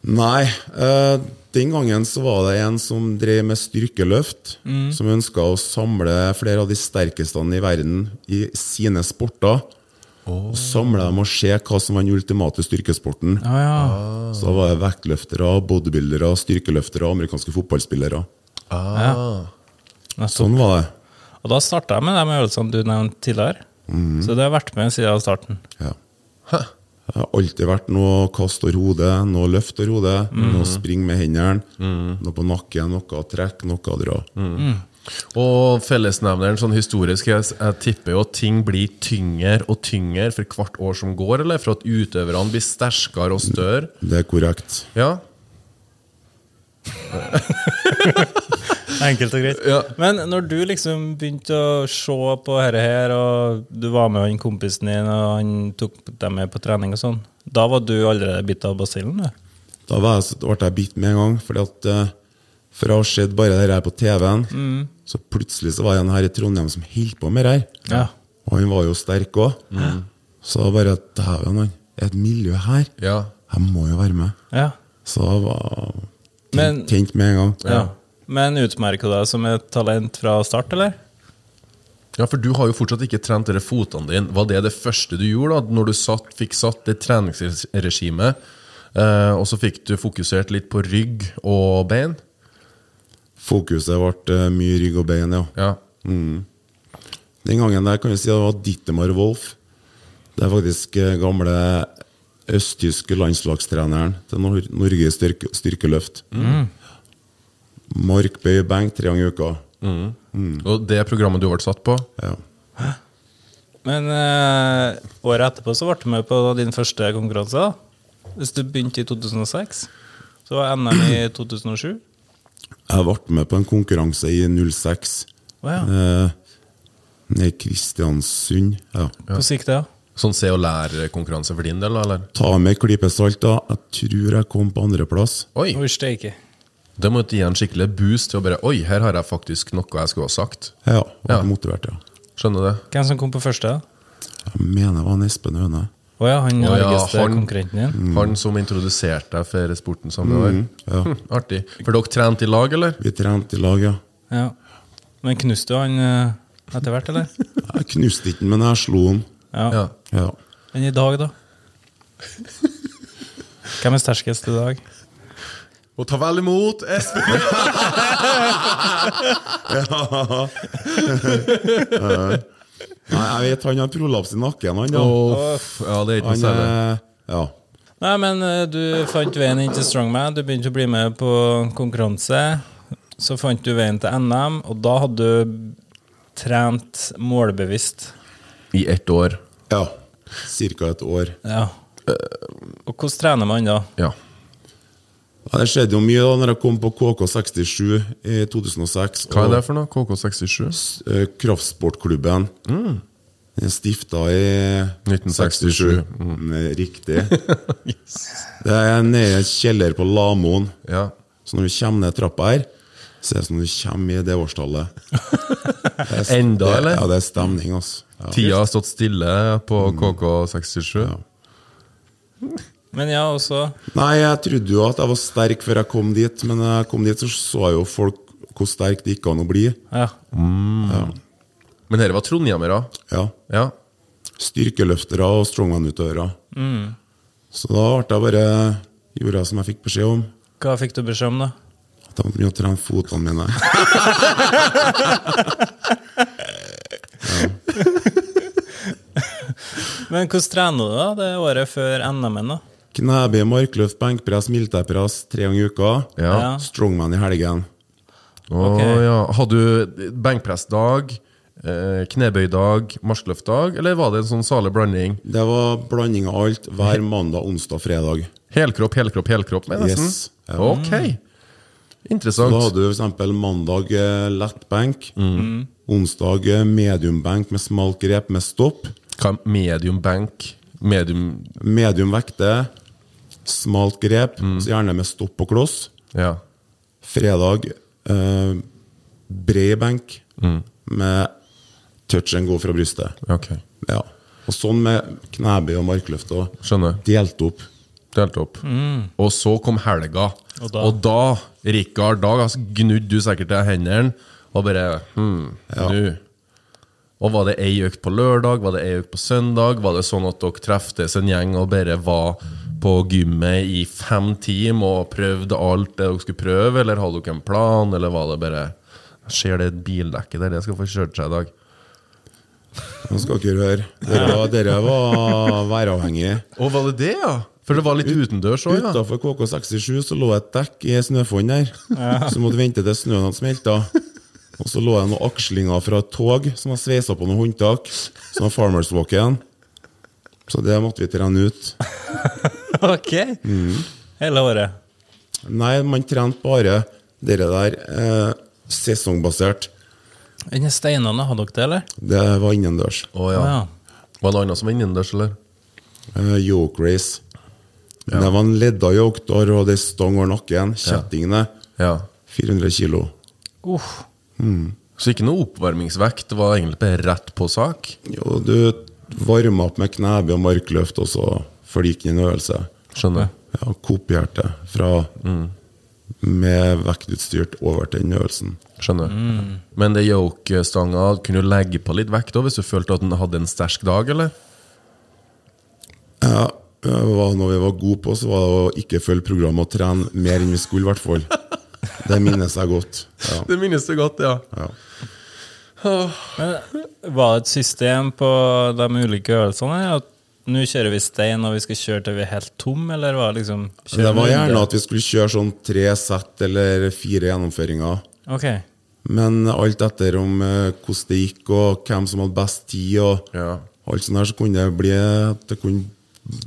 [SPEAKER 2] Nei, eh, den gangen så var det en som drev med styrkeløft, som ønska å samle flere av de sterkeste i verden i sine sporter. Og samle dem og se hva som var den ultimate styrkesporten.
[SPEAKER 4] Ah, ja.
[SPEAKER 2] Så da var det vektløftere, bodybuildere, styrkeløftere og amerikanske fotballspillere.
[SPEAKER 3] Ah.
[SPEAKER 4] Nettopp.
[SPEAKER 2] Sånn var det.
[SPEAKER 4] Og da starta jeg med de øvelsene du nevnte tidligere.
[SPEAKER 3] Mm.
[SPEAKER 4] Så det har vært med siden starten.
[SPEAKER 2] Ja. Det har alltid vært noe kast over hodet, noe løft over hodet, noe spring med hendene, noe på nakken, noe trekk, noe dra.
[SPEAKER 3] Og fellesnevneren sånn historisk jeg, jeg tipper jo at ting blir tyngre og tyngre for hvert år som går, eller for at utøverne blir sterkere og større.
[SPEAKER 2] Det er korrekt.
[SPEAKER 3] Ja.
[SPEAKER 4] Enkelt og greit.
[SPEAKER 3] Ja.
[SPEAKER 4] Men når du liksom begynte å se på dette her, og du var med han kompisen din, og han tok deg med på trening og sånn, da var du allerede bitt av basillen, du?
[SPEAKER 2] Da var jeg, da ble jeg bitt med en gang, fordi at eh, for jeg har sett bare det her på TV-en,
[SPEAKER 4] Mm.
[SPEAKER 2] så plutselig så var det en her i Trondheim som holdt på med det her.
[SPEAKER 4] Ja.
[SPEAKER 2] Og han var jo sterk òg. Så da bare Dæven, han. Et miljø her.
[SPEAKER 3] Ja.
[SPEAKER 2] Jeg må jo være med.
[SPEAKER 4] ja.
[SPEAKER 2] Så jeg var
[SPEAKER 4] Men-
[SPEAKER 2] tent- tent med en gang.
[SPEAKER 4] ja. Men utmerka deg som et talent fra start, eller?
[SPEAKER 3] Ja, for du har jo fortsatt ikke trent dere fotene dine. Var det det første du gjorde da, når du satt, fikk satt det treningsregimet, eh, og så fikk du fokusert litt på rygg og bein?
[SPEAKER 2] Fokuset ble eh, mye rygg og bein, ja.
[SPEAKER 3] Ja.
[SPEAKER 2] Den gangen der kan vi si det var Dittemar Wolf. Det er faktisk eh, gamle østtyske landslagstreneren til Nor Norge i styrke styrkeløft. Mark, bøy, benk tre ganger i uka.
[SPEAKER 3] Og det programmet du ble satt på?
[SPEAKER 2] Ja.
[SPEAKER 4] Men eh, året etterpå så ble du med på din første konkurranse. da. Hvis du begynte i 2006, så var NM i 2007.
[SPEAKER 2] Jeg ble med på en konkurranse i 06.
[SPEAKER 4] Å ja.
[SPEAKER 2] Eh, Nede i Kristiansund. Ja.
[SPEAKER 4] Hvordan gikk det? da?
[SPEAKER 3] Sånn se og lær-konkurranse for din del, da, eller?
[SPEAKER 2] Ta med en klype salt, da. Jeg tror jeg kom på andreplass.
[SPEAKER 3] Oi!
[SPEAKER 4] Oi, steike.
[SPEAKER 3] Det måtte gi en skikkelig boost til å bare Oi, her har jeg faktisk noe jeg skulle ha sagt.
[SPEAKER 2] Ja, ble
[SPEAKER 3] Ja.
[SPEAKER 2] motivert, ja.
[SPEAKER 3] Skjønner du det?
[SPEAKER 4] Hvem som kom på første? da?
[SPEAKER 2] Jeg mener det var en Espen Høne.
[SPEAKER 4] Å ja, han
[SPEAKER 3] Å ja,
[SPEAKER 4] argeste
[SPEAKER 3] han-
[SPEAKER 4] konkurrenten din.
[SPEAKER 3] Han som introduserte deg for sporten samme år.
[SPEAKER 2] ja.
[SPEAKER 3] Hm, artig. For dere trente i lag, eller?
[SPEAKER 2] Vi trente i lag, ja.
[SPEAKER 4] Ja. Men knuste du han eh, etter hvert, eller?
[SPEAKER 2] Jeg knuste ikke den, men jeg slo den.
[SPEAKER 4] Ja.
[SPEAKER 3] Ja.
[SPEAKER 2] Ja.
[SPEAKER 4] Men i dag, da? Hvem er sterkest i dag?
[SPEAKER 3] Og ta vel imot Espen!
[SPEAKER 2] Nei, jeg vet han har prolaps i nakken, han da.
[SPEAKER 3] ja, det er ikke noe
[SPEAKER 2] han
[SPEAKER 3] særlig.
[SPEAKER 2] er Ja.
[SPEAKER 4] Nei, men eh, du fant veien inn til Strongman. Du begynte å bli med på konkurranse. Så fant du veien til NM, og da hadde du trent målbevisst.
[SPEAKER 3] I ett år.
[SPEAKER 2] ja. Cirka et år.
[SPEAKER 4] Ja. Og hvordan trener man da?
[SPEAKER 3] Ja.
[SPEAKER 2] Ja, det skjedde jo mye da når jeg kom på KK67 i 2006.
[SPEAKER 3] Hva er det
[SPEAKER 2] og,
[SPEAKER 3] for noe? KK67?
[SPEAKER 2] eh, Kraftsportklubben.
[SPEAKER 3] Mm.
[SPEAKER 2] Den er Stifta i
[SPEAKER 3] 1967.
[SPEAKER 2] 67. Mm, Riktig. Det er nede i en eh, kjeller på Lamoen.
[SPEAKER 3] Ja.
[SPEAKER 2] Så når du kommer ned trappa her, så er det som om du kommer i det årstallet. Det er,
[SPEAKER 3] Enda,
[SPEAKER 2] det,
[SPEAKER 3] eller?
[SPEAKER 2] Ja, det er stemning, altså. Ja.
[SPEAKER 3] Tida har stått stille på KK67.
[SPEAKER 4] Men ja, også
[SPEAKER 2] Nei, jeg trodde jo at jeg var sterk før jeg kom dit, men når jeg kom dit, så så jeg jo folk hvor sterk det gikk an å bli.
[SPEAKER 4] Ja.
[SPEAKER 3] Men dette var trondhjemmere.
[SPEAKER 2] Ja.
[SPEAKER 3] Ja.
[SPEAKER 2] Styrkeløftere og strongman-utøvere. Så da ble jeg bare gjorde jeg som jeg fikk beskjed om.
[SPEAKER 4] Hva fikk du beskjed om, da?
[SPEAKER 2] At jeg måtte begynne å trene fotene mine.
[SPEAKER 4] Men hvordan trener du da det året før NM-en? da?
[SPEAKER 2] Knebøy, markløft, benkpress, militærpress tre ganger i uka.
[SPEAKER 3] Ja.
[SPEAKER 4] Ja.
[SPEAKER 2] Strongman i helgen.
[SPEAKER 3] Å
[SPEAKER 4] Ok.
[SPEAKER 3] ja. Hadde du benkpressdag, eh, knebøydag, marskløftdag, eller var det en sånn salig blanding?
[SPEAKER 2] Det var blanding av alt hver mandag, onsdag, fredag.
[SPEAKER 3] Helkropp, helkropp, helkropp, med nesten?
[SPEAKER 2] Yes. Ja.
[SPEAKER 3] Ok.
[SPEAKER 2] Da
[SPEAKER 3] Interessant.
[SPEAKER 2] hadde du f.eks. mandag eh, lettbenk, onsdag eh, mediumbenk med smalt grep med stopp,
[SPEAKER 3] Hva er medium benk? Medium
[SPEAKER 2] medium vekte, smalt grep, så gjerne med stopp og kloss.
[SPEAKER 3] Ja.
[SPEAKER 2] Fredag eh, bred benk med touch and go fra brystet.
[SPEAKER 3] Ok.
[SPEAKER 2] Ja. Og sånn med knebøy og markløft. Og
[SPEAKER 3] Skjønner.
[SPEAKER 2] Delt opp.
[SPEAKER 3] Delt opp. Og så kom helga.
[SPEAKER 4] Og
[SPEAKER 3] Og da,
[SPEAKER 4] da-
[SPEAKER 3] Rikard, da altså, gnudde du sikkert til hendene og bare hmm, nå. Og var det ei økt på lørdag? Var det ei økt på søndag? Var det sånn at dere treftes en gjeng og bare var på gymmet i fem timer og prøvde alt det dere skulle prøve, eller hadde dere en plan, eller var det bare Ser det bildekket der, det skal få kjørt seg i dag.
[SPEAKER 2] Nå skal dere høre. Dere var, dere var væravhengig.
[SPEAKER 3] Og var det det, ja? For det var litt utendørs òg, ja?
[SPEAKER 2] Utafor KK67 så lå et dekk i snøfonn der. Så måtte vente til snøen hadde smelta. Og så lå det noen akslinger fra et tog som var sveisa på noen håndtak. Som var Farmers Walk-en. Så det måtte vi trene ut.
[SPEAKER 4] Ok! Hele året.
[SPEAKER 2] Nei, man trente bare det der eh, sesongbasert.
[SPEAKER 4] Denne steinene, hadde dere det, eller?
[SPEAKER 2] Det var innendørs.
[SPEAKER 3] Å ja.
[SPEAKER 4] Ja.
[SPEAKER 3] Var det noe annet som var innendørs, eller?
[SPEAKER 2] Eh, yoke race. Det var en ledda yoke, da hadde jeg stang over nakken. Kjettingene.
[SPEAKER 3] Ja.
[SPEAKER 2] 400 kilo.
[SPEAKER 4] Uff.
[SPEAKER 3] Så ikke noe oppvarmingsvekt, det var egentlig bare rett på sak.
[SPEAKER 2] Jo, du varma opp med knebøy og markløft, og så før det gikk inn i en øvelse.
[SPEAKER 3] Skjønner.
[SPEAKER 2] Jeg har kopiert det fra med vektutstyrt over til den øvelsen.
[SPEAKER 3] Skjønner. Men det yoke-stanga kunne du legge på litt vekt da, hvis du følte at den hadde en sterk dag, eller?
[SPEAKER 2] Ja, det var noe vi var gode på, så var det å ikke følge programmet og trene mer enn vi skulle, i hvert fall. Det minnes jeg godt. Ja.
[SPEAKER 3] Det minnes du godt, ja.
[SPEAKER 4] Var det et system på de ulike øvelsene? her, At nå kjører vi stein, og vi skal kjøre til vi er helt tom, eller var det liksom kjøre
[SPEAKER 2] Det var
[SPEAKER 4] runde?
[SPEAKER 2] gjerne at vi skulle kjøre sånn tre sett eller fire gjennomføringer.
[SPEAKER 4] Ok.
[SPEAKER 2] Men alt etter om eh, hvordan det gikk, og hvem som hadde best tid, og
[SPEAKER 3] Ja.
[SPEAKER 2] alt sånt der, så kunne det bli Det kunne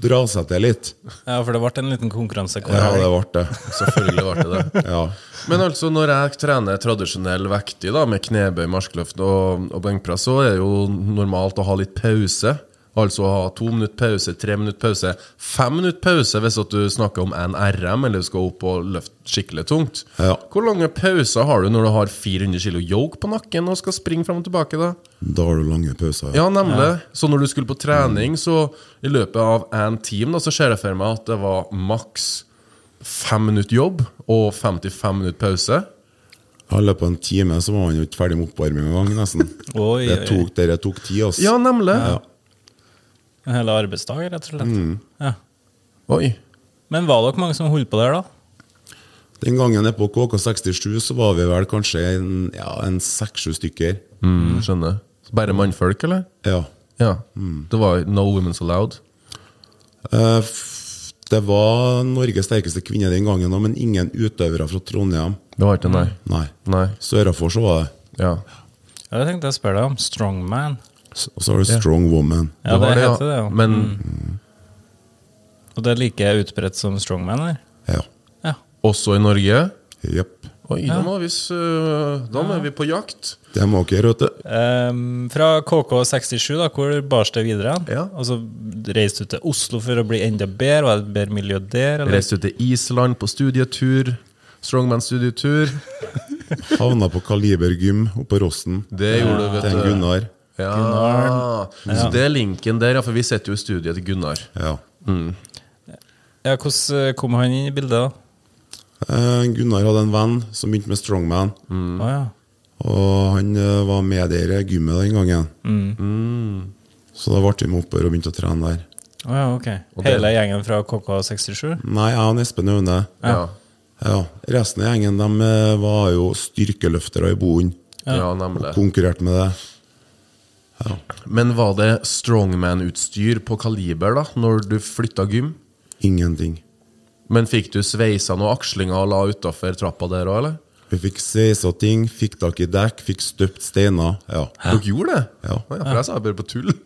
[SPEAKER 2] dra seg til litt.
[SPEAKER 4] Ja, for det ble en liten konkurranse. hver
[SPEAKER 2] Ja,
[SPEAKER 4] helg.
[SPEAKER 2] det ble det.
[SPEAKER 3] Selvfølgelig ble det det.
[SPEAKER 2] Ja.
[SPEAKER 3] Men altså, når jeg trener tradisjonell vektig da, med knebøy, markløft og, og benkpress, så er det jo normalt å ha litt pause. Altså ha to minutter pause, tre minutter pause, fem minutter pause hvis at du snakker om en RM eller du skal opp og løfte skikkelig tungt.
[SPEAKER 2] Ja.
[SPEAKER 3] Hvor lange pauser har du når du har 400 kilo yoke på nakken og skal springe fram og tilbake? da?
[SPEAKER 2] Da har du lange pauser.
[SPEAKER 3] Ja, nemlig. Så når du skulle på trening, så i løpet av en time, da, så ser jeg for meg at det var maks fem minutter jobb og 55 minutter pause.
[SPEAKER 2] I løpet av en time så var man jo ikke ferdig med oppvarming engang, nesten.
[SPEAKER 4] Oi,
[SPEAKER 2] det
[SPEAKER 4] oi.
[SPEAKER 2] tok, dere tok tid, ass.
[SPEAKER 3] Ja, nemlig.
[SPEAKER 4] En hel arbeidsdag, rett og slett.
[SPEAKER 2] Mm.
[SPEAKER 4] Ja.
[SPEAKER 3] Oi.
[SPEAKER 4] Men var dere mange som holdt på der, da?
[SPEAKER 2] Den gangen nede på KK67 så var vi vel kanskje en, ja, en seks-sju stykker.
[SPEAKER 3] Mm, skjønner. Så Bare mannfolk, eller?
[SPEAKER 2] Ja.
[SPEAKER 3] Ja. Det var no women's allowed.
[SPEAKER 2] Eh, f- Det var Norges sterkeste kvinne den gangen, også, men ingen utøvere fra Trondheim.
[SPEAKER 3] Det var ikke nei.
[SPEAKER 2] Nei.
[SPEAKER 3] Nei.
[SPEAKER 2] Sørafor så var det.
[SPEAKER 3] Ja.
[SPEAKER 4] Ja, det tenkte jeg å spørre deg om. Strongman.
[SPEAKER 2] S- Og så har du Strong Woman.
[SPEAKER 4] Ja, Mm. det,
[SPEAKER 3] var
[SPEAKER 4] heter det, jo.
[SPEAKER 3] Men
[SPEAKER 4] Og det er like utbredt som strongman her?
[SPEAKER 2] Ja.
[SPEAKER 4] Ja.
[SPEAKER 3] også i Norge
[SPEAKER 2] Jepp.
[SPEAKER 3] Oi, da, må vi, s- øh, da må vi på jakt.
[SPEAKER 2] Det må dere, vet du.
[SPEAKER 4] Ehm, fra KK67, da, hvor bars det videre?
[SPEAKER 3] Ja.
[SPEAKER 4] Og så reiste du til Oslo for å bli enda bedre? Var det et bedre miljø der? Eller?
[SPEAKER 3] Reiste ut til Island på studietur. Strongman-studietur.
[SPEAKER 2] Havna på Kaliber gym oppe på Rossen.
[SPEAKER 3] Det gjorde du,
[SPEAKER 2] Til en
[SPEAKER 3] vet du.
[SPEAKER 2] Gunnar.
[SPEAKER 3] Ja. Så det er linken der, ja, for vi sitter jo i studiet til Gunnar.
[SPEAKER 2] Ja.
[SPEAKER 4] Ja, Hvordan eh, kom han inn i bildet? da?
[SPEAKER 2] Eh, Gunnar hadde en venn som begynte med strongman.
[SPEAKER 4] Å ja.
[SPEAKER 2] Og han eh, var med der i gymmet den gangen.
[SPEAKER 3] Mm.
[SPEAKER 2] Så da ble vi med oppover og begynte å trene der.
[SPEAKER 4] Å ja, ok.
[SPEAKER 3] det-
[SPEAKER 4] Hele gjengen fra KK67?
[SPEAKER 2] Nei, jeg og Espen Aune
[SPEAKER 3] Ja.
[SPEAKER 2] ja. Resten av gjengen de eh, var jo styrkeløftere i boen.
[SPEAKER 3] Ja,
[SPEAKER 2] Og
[SPEAKER 3] nemlig.
[SPEAKER 2] konkurrerte med det.
[SPEAKER 3] Men var det strongman-utstyr på kaliber da, når du flytta gym?
[SPEAKER 2] Ingenting.
[SPEAKER 3] Men fikk du sveisa noen akslinger og la utafor trappa der òg, eller?
[SPEAKER 2] Vi fikk sveisa ting, fikk tak i dekk, fikk støpt steiner. Ja.
[SPEAKER 3] Dere gjorde det?
[SPEAKER 2] Ja.
[SPEAKER 3] Å ja, for jeg sa jeg bare på tull.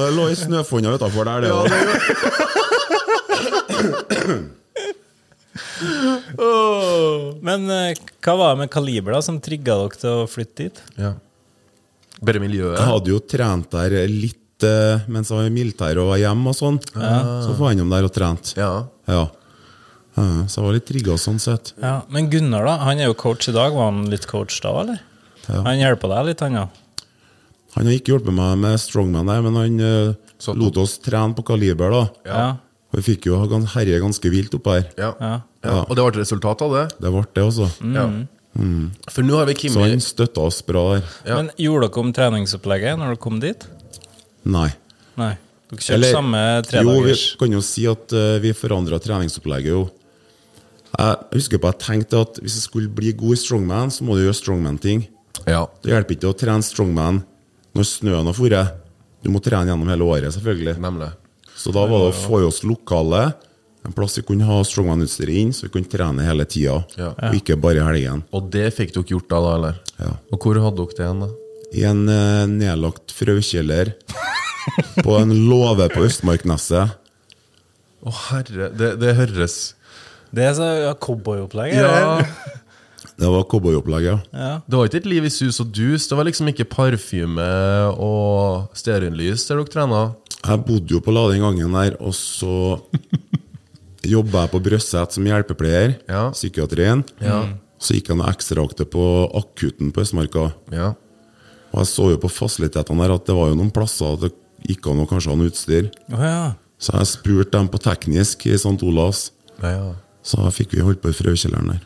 [SPEAKER 2] Og det lå i snøfonna utafor der, det òg.
[SPEAKER 4] Men eh, hva var det med kaliber da som trigga dere til å flytte dit?
[SPEAKER 3] ja. Bare miljøet?
[SPEAKER 2] Jeg hadde jo trent der litt eh, mens jeg var i militæret og var hjemme og sånn. Så var jeg innom der og trent.
[SPEAKER 3] Ah. Ja.
[SPEAKER 2] Ja. Eh, Så jeg var litt trigga sånn sett.
[SPEAKER 4] Ja, Men Gunnar, da, han er jo coach i dag. Var han litt coach da, eller?
[SPEAKER 2] Ja.
[SPEAKER 4] Han hjelper deg litt, han da?
[SPEAKER 2] Han har ikke hjulpet meg med strongman, der, men han eh,
[SPEAKER 3] Så-
[SPEAKER 2] lot oss trene på kaliber. da.
[SPEAKER 3] Ja.
[SPEAKER 2] Vi fikk jo gan- herje ganske vilt opp her.
[SPEAKER 3] Ja. Mm. ja.
[SPEAKER 4] Ja.
[SPEAKER 3] Og det ble et resultat av det?
[SPEAKER 2] Det ble det, altså.
[SPEAKER 3] Ja. For nå har vi
[SPEAKER 2] Så
[SPEAKER 3] Kimi
[SPEAKER 2] han støtta oss bra der.
[SPEAKER 3] Ja.
[SPEAKER 4] Men gjorde dere om treningsopplegget når dere kom dit?
[SPEAKER 2] Nei.
[SPEAKER 4] Nei. Dere kjørte
[SPEAKER 2] Eller-
[SPEAKER 4] samme
[SPEAKER 2] Jo, vi
[SPEAKER 4] tredagers?
[SPEAKER 2] kan jo si at eh, vi forandra treningsopplegget, jo. Jeg husker på at jeg tenkte at hvis jeg skulle bli god i strongman, så må du gjøre strongman-ting.
[SPEAKER 3] Ja.
[SPEAKER 2] Det hjelper ikke å trene strongman når snøen har foret. Du må trene gjennom hele året, selvfølgelig.
[SPEAKER 3] Nemlig.
[SPEAKER 2] Så da var det å få i oss lokale, en plass vi kunne ha strongman-utstyret inn, så vi kunne trene hele tida,
[SPEAKER 3] Ja.
[SPEAKER 2] og ikke bare i helgen.
[SPEAKER 3] Og det fikk dere gjort da, da, eller?
[SPEAKER 2] Ja.
[SPEAKER 3] Og hvor hadde dere det igjen, da?
[SPEAKER 2] I en eh, nedlagt frøkjeller på en låve på Østmarkneset.
[SPEAKER 3] Å, herre, det, det høres
[SPEAKER 4] Det er så ja, cowboyopplegg?
[SPEAKER 3] Ja.
[SPEAKER 4] eller?
[SPEAKER 2] Det var cowboyopplegget.
[SPEAKER 4] ja.
[SPEAKER 3] Det var ikke et liv i sus og dus. Det var liksom ikke parfyme og stearinlys der dere trena.
[SPEAKER 2] Jeg bodde jo på Lade den gangen der, og så jobba jeg på Brøset som hjelpepleier,
[SPEAKER 3] Ja.
[SPEAKER 2] psykiatrien.
[SPEAKER 3] Ja.
[SPEAKER 2] Så gikk jeg noe ekstraakte på akutten på Østmarka.
[SPEAKER 3] Ja.
[SPEAKER 2] Og jeg så jo på fasilitetene der at det var jo noen plasser at det gikk an å kanskje ha noe utstyr.
[SPEAKER 4] Å ja.
[SPEAKER 2] Så jeg spurte dem på teknisk i St. Olavs,
[SPEAKER 3] Ja, ja.
[SPEAKER 2] så da fikk vi holdt på i frøkjelleren der.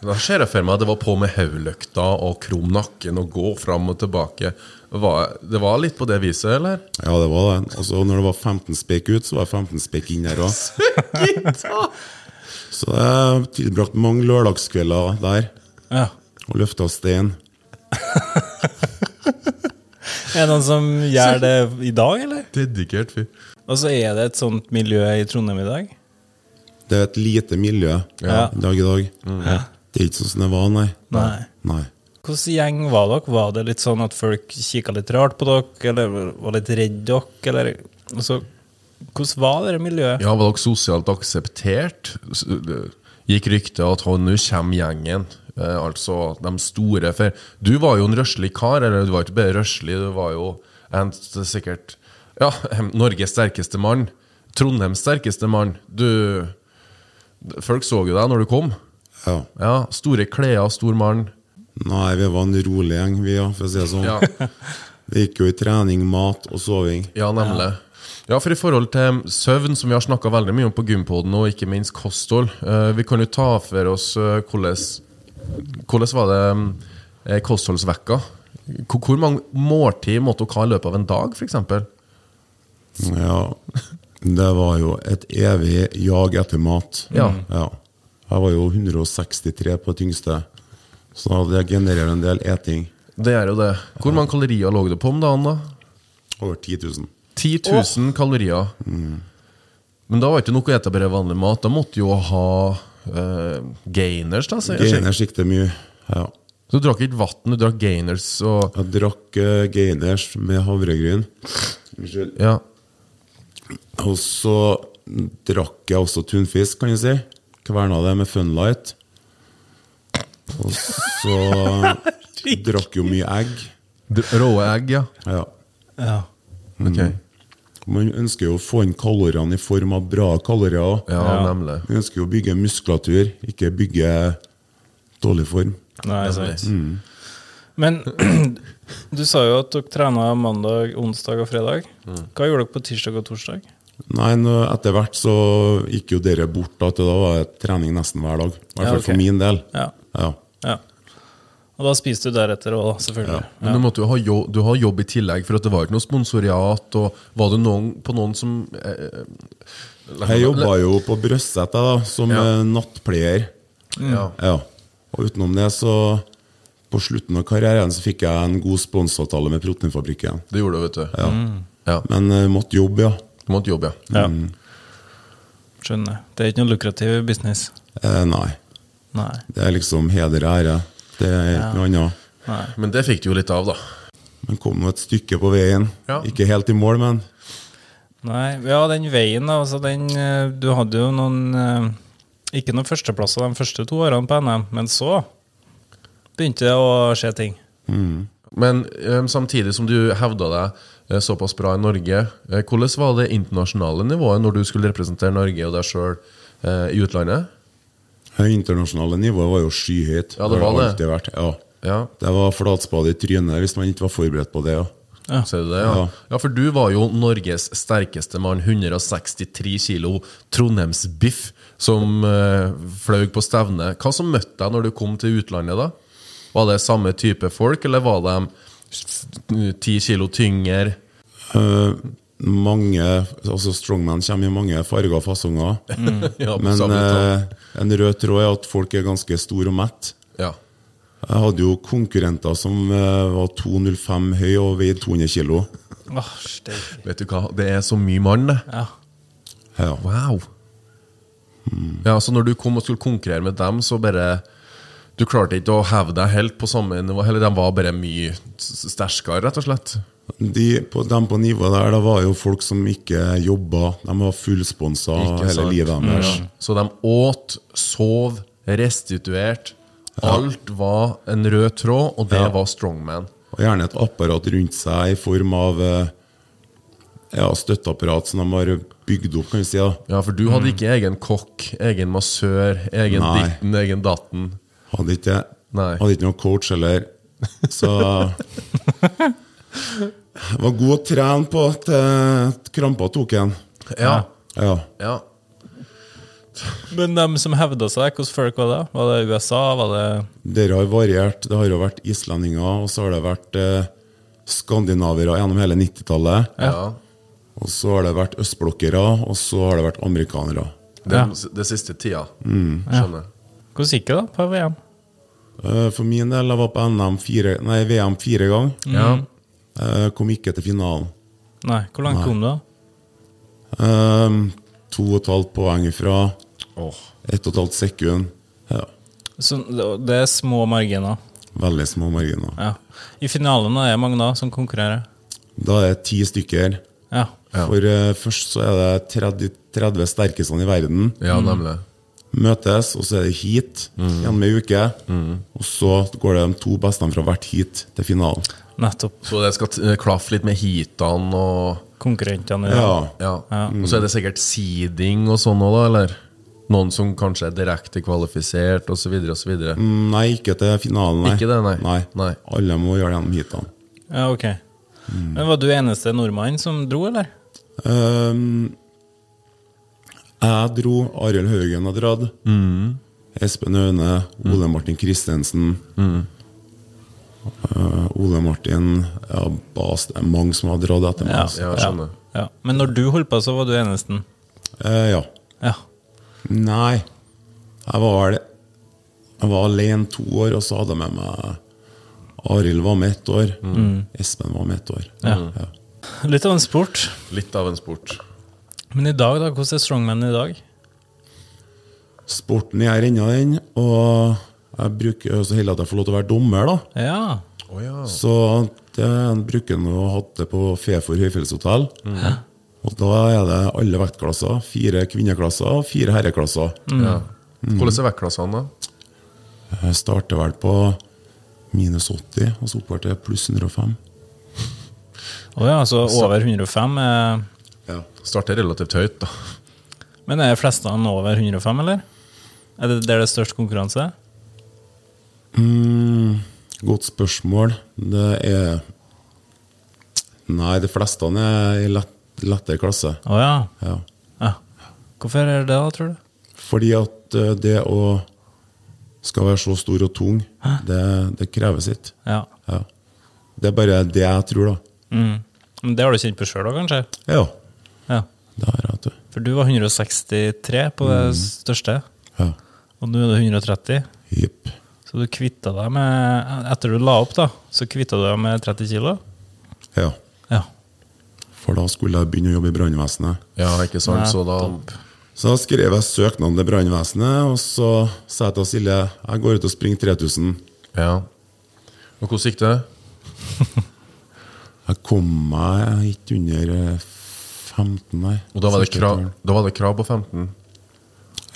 [SPEAKER 3] Da ser jeg for meg at det var på med hodelykta og krum nakken og gå fram og tilbake. Var, det var litt på det viset, eller?
[SPEAKER 2] Ja, det var det. Og så når det var 15 spekk ut, så var det 15 spekk inn der òg. Så jeg tilbrakte mange lørdagskvelder der
[SPEAKER 4] ja.
[SPEAKER 2] og løfta stein.
[SPEAKER 4] Er det noen som gjør det i dag, eller?
[SPEAKER 3] Dedikert fyr.
[SPEAKER 4] Og så er det et sånt miljø i Trondheim i dag?
[SPEAKER 2] Det er et lite miljø
[SPEAKER 4] Ja. Mm.
[SPEAKER 2] i dag i dag. Det er ikke sånn som det var, nei.
[SPEAKER 4] Nei.
[SPEAKER 2] Nei.
[SPEAKER 4] Hvordan gjeng var dere? Var det litt sånn at folk kikka litt rart på dere, eller var litt redd dere, eller altså, Hvordan var det miljøet?
[SPEAKER 3] Ja, var dere sosialt akseptert? S- det Gikk ryktet at «Å, nå kommer gjengen, eh, altså de store. For du var jo en røslig kar, eller du var ikke bare røslig, du var jo en, sikkert ja, Norges sterkeste mann. Trondheims sterkeste mann. Du Folk så jo deg når du kom.
[SPEAKER 2] Ja.
[SPEAKER 3] Ja, Store klær, stor mann.
[SPEAKER 2] Nei, vi var en rolig gjeng, vi, ja, for å si det sånn.
[SPEAKER 3] Ja,
[SPEAKER 2] Det gikk jo i trening, mat og soving.
[SPEAKER 3] ja nemlig. Ja, for I forhold til søvn, som vi har snakka veldig mye om på gympoden, og ikke minst kosthold eh, Vi kan jo ta for oss eh, hvordan, hvordan var det eh, kostholdsvekka? Hvor, hvor mange måltid måtte dere ha i løpet av en dag, f.eks.?
[SPEAKER 2] Ja. Det var jo et evig jag etter mat.
[SPEAKER 3] Ja.
[SPEAKER 2] Jeg var jo 163 på det tyngste, så det genererer en del eting.
[SPEAKER 3] Det er jo det. Hvor mange kalorier lå det på om dagen, da?
[SPEAKER 2] Over 10 000.
[SPEAKER 3] 10 000 kalorier. Men da var det ikke nok å ete bare vanlig mat. Da måtte jo ha eh, gainers, da. sier jeg.
[SPEAKER 2] Gainers gikk det mye. Ja.
[SPEAKER 3] Så du drakk ikke vann, du drakk gainers og
[SPEAKER 2] Jeg drakk eh, gainers med havregryn. Unnskyld.
[SPEAKER 3] Ja.
[SPEAKER 2] Og så drakk jeg også tunfisk, kan du si. Kverna det med Funlight. Og så drakk jo mye egg.
[SPEAKER 3] Dr- Rå egg, ja.
[SPEAKER 2] Ja.
[SPEAKER 4] Ja.
[SPEAKER 3] Ok.
[SPEAKER 2] Mm. Man ønsker jo å få inn kaloriene i form av bra kalorier. også.
[SPEAKER 3] Ja,
[SPEAKER 4] Ja.
[SPEAKER 3] nemlig.
[SPEAKER 2] Man ønsker jo å bygge muskulatur, ikke bygge dårlig form.
[SPEAKER 4] Nei,
[SPEAKER 3] Nemlig.
[SPEAKER 4] sant. Men Du sa jo at dere trena mandag, onsdag og fredag. Hva gjorde dere på tirsdag og torsdag?
[SPEAKER 2] Nei, nå, etter hvert så gikk jo dere bort, da, til da var det trening nesten hver dag. I hvert
[SPEAKER 4] Ja,
[SPEAKER 2] fall
[SPEAKER 4] ok.
[SPEAKER 2] for min del.
[SPEAKER 4] Ja.
[SPEAKER 2] Ja.
[SPEAKER 4] ja. Og da spiste du deretter òg, selvfølgelig.
[SPEAKER 3] Men du måtte jo ha jobb, du har jobb i tillegg, for at det var ikke noe sponsoriat. Og var du noen, på noen som eh,
[SPEAKER 2] Jeg jobba jo på Brøsset jeg, da, som
[SPEAKER 3] Ja.
[SPEAKER 2] eh, nattpleier.
[SPEAKER 3] Ja.
[SPEAKER 2] Ja. Og utenom det, så På slutten av karrieren så fikk jeg en god sponsavtale med Proteinfabrikken.
[SPEAKER 3] Det gjorde du, vet du.
[SPEAKER 2] Ja.
[SPEAKER 3] Ja.
[SPEAKER 2] Men eh, måtte jobbe, ja.
[SPEAKER 3] Du måtte jobbe, ja.
[SPEAKER 4] Ja. Skjønner. Det er ikke noe lukrativ business.
[SPEAKER 2] Eh, nei.
[SPEAKER 4] Nei.
[SPEAKER 2] Det er liksom heder og ære. Det er ikke noe annet.
[SPEAKER 4] Nei.
[SPEAKER 3] Men det fikk du jo litt av, da.
[SPEAKER 2] Men kom nå et stykke på veien.
[SPEAKER 3] Ja.
[SPEAKER 2] Ikke helt i mål, men
[SPEAKER 4] Nei, ja, den veien da, altså den, eh, du hadde jo noen, eh, ikke noen førsteplasser de første to årene på NM, men så begynte det å skje ting.
[SPEAKER 3] Men eh, samtidig som du hevda deg eh, såpass bra i Norge, eh, hvordan var det internasjonale nivået når du skulle representere Norge og deg sjøl eh, i utlandet?
[SPEAKER 2] det internasjonale nivået var jo skyhøyt.
[SPEAKER 3] Ja, det var
[SPEAKER 2] har
[SPEAKER 3] det.
[SPEAKER 2] alltid vært. Ja.
[SPEAKER 3] Ja,
[SPEAKER 2] Det var flatspade i trynet hvis man ikke var forberedt på det. Ja.
[SPEAKER 3] ser du det? Ja.
[SPEAKER 2] Ja.
[SPEAKER 3] ja, for du var jo Norges sterkeste mann. 163 kilo trondheimsbiff som eh, fløy på stevne. Hva som møtte deg når du kom til utlandet, da? Var det samme type folk, eller var de ti kilo tyngre?
[SPEAKER 2] Eh, mange, altså Strongman kommer i mange farger og fasonger.
[SPEAKER 3] Ja,
[SPEAKER 2] Mm.
[SPEAKER 3] på
[SPEAKER 2] Men
[SPEAKER 3] Mm. samme tall.
[SPEAKER 2] eh, en rød tråd er at folk er ganske store og mett.
[SPEAKER 3] ja.
[SPEAKER 2] Jeg hadde jo konkurrenter som eh, var 205 høy og veide 200 kilo.
[SPEAKER 4] Åh, steik.
[SPEAKER 3] Vet du hva, det er så mye mann, det.
[SPEAKER 4] Ja.
[SPEAKER 2] Ja. Mm.
[SPEAKER 3] Wow. Ja, så når du kom og skulle konkurrere med dem, så bare Du klarte ikke å heve deg helt på samme nivå, eller de var bare mye s- sterkere, rett og slett.
[SPEAKER 2] De på, dem på nivået der, det var jo folk som ikke jobba. De var fullsponsa
[SPEAKER 3] Ikke
[SPEAKER 2] hele
[SPEAKER 3] sant? Mm.
[SPEAKER 2] livet deres.
[SPEAKER 3] Ja. Så de åt, sov, restituerte. Alt var en rød tråd, og det
[SPEAKER 2] Ja.
[SPEAKER 3] var strongman.
[SPEAKER 2] Og gjerne et apparat rundt seg i form av eh, ja, støtteapparat som de har bygd opp, kan vi si. da.
[SPEAKER 3] Ja, for du hadde ikke egen kokk, egen massør, egen
[SPEAKER 2] Nei.
[SPEAKER 3] ditten, egen datten.
[SPEAKER 2] Hadde ikke,
[SPEAKER 3] Nei.
[SPEAKER 2] hadde ikke noen coach heller. Så jeg var god å trene på at eh, krampa tok en.
[SPEAKER 3] Ja,
[SPEAKER 2] Ja.
[SPEAKER 3] ja.
[SPEAKER 4] Men de som hevda seg, hvordan folk var det? Var det USA, var det...
[SPEAKER 2] Dere har variert. Det har jo vært islendinger, og så har det vært eh, skandinavere gjennom hele 90-tallet.
[SPEAKER 3] ja.
[SPEAKER 2] Og så har det vært østblokkere, og så har det vært amerikanere.
[SPEAKER 3] Den, Det siste tida. Skjønner.
[SPEAKER 4] Hvordan gikk det da på VM?
[SPEAKER 2] Eh, For min del, jeg var på NM fire, nei, VM fire ganger.
[SPEAKER 3] Ja. Mm.
[SPEAKER 2] Eh, Kom ikke til finalen.
[SPEAKER 4] Nei, hvor langt kom du da?
[SPEAKER 2] Eh, To og et halvt poeng ifra.
[SPEAKER 3] Åh.
[SPEAKER 2] Ett og et halvt sekund. Ja.
[SPEAKER 4] Så, det er små marginer.
[SPEAKER 2] Veldig små marginer.
[SPEAKER 4] Ja. I finalen da er det mange da som konkurrerer.
[SPEAKER 2] Da er det ti stykker.
[SPEAKER 4] Ja.
[SPEAKER 2] For eh, først så er det 30, 30 sterkeste i verden.
[SPEAKER 3] Ja, nemlig.
[SPEAKER 2] Møtes, og så er det heat
[SPEAKER 3] Mm.
[SPEAKER 2] gjennom ei uke. Og så går det de to beste fra hvert heat til finalen.
[SPEAKER 4] Nettopp.
[SPEAKER 3] Så det skal t- eh, klaffe litt med heatene og
[SPEAKER 4] Konkurrentene.
[SPEAKER 2] Ja.
[SPEAKER 3] ja. Og så er det sikkert seeding og sånn òg, da? Eller noen som kanskje er direkte kvalifisert, osv., osv.?
[SPEAKER 2] Mm, Nei, ikke til finalen, nei.
[SPEAKER 3] Ikke det, nei.
[SPEAKER 2] nei.
[SPEAKER 3] Nei.
[SPEAKER 2] Alle må gjøre det gjennom heatene.
[SPEAKER 4] Ja, ok. Men var du eneste nordmann som dro, eller?
[SPEAKER 2] Ehm, jeg dro, Arild Haugen har dratt.
[SPEAKER 3] Mm.
[SPEAKER 2] Espen Aune, Ole Martin Kristensen.
[SPEAKER 3] Mm.
[SPEAKER 2] Eh, Ole Martin ja, Bas, Det er mange som har dratt etter meg. altså.
[SPEAKER 3] Ja, jeg skjønner.
[SPEAKER 4] Ja. Men når du holdt på, så var du enesten?
[SPEAKER 2] Eh, ja.
[SPEAKER 4] Ja.
[SPEAKER 2] Nei, jeg var vel Jeg var alene to år, og så hadde jeg med meg Arild var med ett år.
[SPEAKER 3] Mm.
[SPEAKER 2] Espen var med ett år.
[SPEAKER 4] Ja. Litt av en sport.
[SPEAKER 3] Litt av en sport.
[SPEAKER 4] Men i dag, da? Hvordan er strongman i dag?
[SPEAKER 2] Sporten jeg renner den, og jeg bruker jo så heldig at jeg får lov til å være dommer, da.
[SPEAKER 4] Ja.
[SPEAKER 3] Å ja.
[SPEAKER 2] Så det jeg bruker nå å ha det på Fefor høyfjellshotell. Og da er det alle vektklasser. Fire kvinneklasser og fire herreklasser.
[SPEAKER 3] ja. Hvordan er vektklassene, da?
[SPEAKER 2] Jeg starter vel på minus 80, og så oppover til pluss 105.
[SPEAKER 4] Å ja, så over 105 er
[SPEAKER 2] Ja.
[SPEAKER 3] Starter relativt høyt, da.
[SPEAKER 4] Men er flestene over 105, eller? Er det der det er størst konkurranse?
[SPEAKER 2] Mm, godt spørsmål. Det er Nei, de fleste er i lett, lettere klasse.
[SPEAKER 4] Å ja.
[SPEAKER 2] Ja.
[SPEAKER 4] ja. Hvorfor er det det, da, tror du?
[SPEAKER 2] Fordi at eh, det å skal være så stor og tung, det, det krever sitt.
[SPEAKER 4] Ja.
[SPEAKER 2] Ja. Det er bare det jeg tror, da.
[SPEAKER 4] Mm. Men det har du kjent på sjøl òg, kanskje?
[SPEAKER 2] Ja,
[SPEAKER 4] Ja.
[SPEAKER 2] det har jeg, vet du.
[SPEAKER 4] For du var 163 på det
[SPEAKER 3] Mm.
[SPEAKER 4] største,
[SPEAKER 2] Ja.
[SPEAKER 4] og nå er du 130.
[SPEAKER 2] Jipp.
[SPEAKER 4] Så du kvitta deg med Etter du la opp, da, så kvitta du deg med 30 kilo?
[SPEAKER 2] Ja.
[SPEAKER 4] Ja.
[SPEAKER 2] For da skulle jeg begynne å jobbe i brannvesenet.
[SPEAKER 3] Ja, ikke sant? Så da
[SPEAKER 2] Så da skrev jeg søknaden til brannvesenet, og så sa jeg til Silje jeg går ut og springer 3000.
[SPEAKER 3] Ja. Og hvordan gikk det?
[SPEAKER 2] Jeg kom meg ikke under eh, 15, nei.
[SPEAKER 3] Og da var det
[SPEAKER 2] Første
[SPEAKER 3] krav,
[SPEAKER 2] turen.
[SPEAKER 3] da var det krav på 15?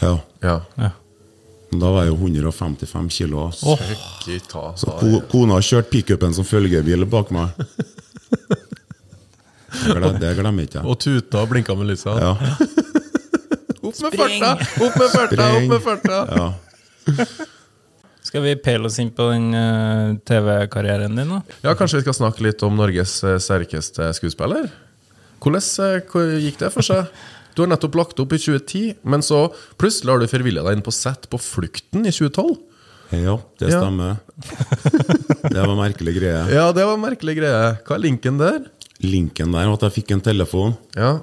[SPEAKER 2] Ja.
[SPEAKER 3] Ja.
[SPEAKER 4] ja.
[SPEAKER 2] Men Da var jeg jo 155 kilo. Så,
[SPEAKER 3] Ikke ta
[SPEAKER 2] så ko, kona kjørte pickupen som følgebil bak meg. Det glem- det glemmer ikke jeg.
[SPEAKER 3] Og tuta og blinka med lysa.
[SPEAKER 2] Ja.
[SPEAKER 3] Opp med farta! Opp med farta! Opp med farta!
[SPEAKER 2] Ja.
[SPEAKER 4] Skal vi peile oss inn på den eh, TV-karrieren din, da?
[SPEAKER 3] Ja, kanskje vi skal snakke litt om Norges eh, sterkeste skuespiller? Hvordan eh, hvor gikk det for seg? Du har nettopp lagt opp i 2010, men så plutselig har du forvilla deg inn på sett på Flukten i 2012.
[SPEAKER 2] ja, det
[SPEAKER 3] Ja.
[SPEAKER 2] stemmer. Det var en merkelig greie.
[SPEAKER 3] Ja, det var en merkelig greie. Hva er linken der?
[SPEAKER 2] Linken der var at jeg fikk en telefon
[SPEAKER 3] Ja,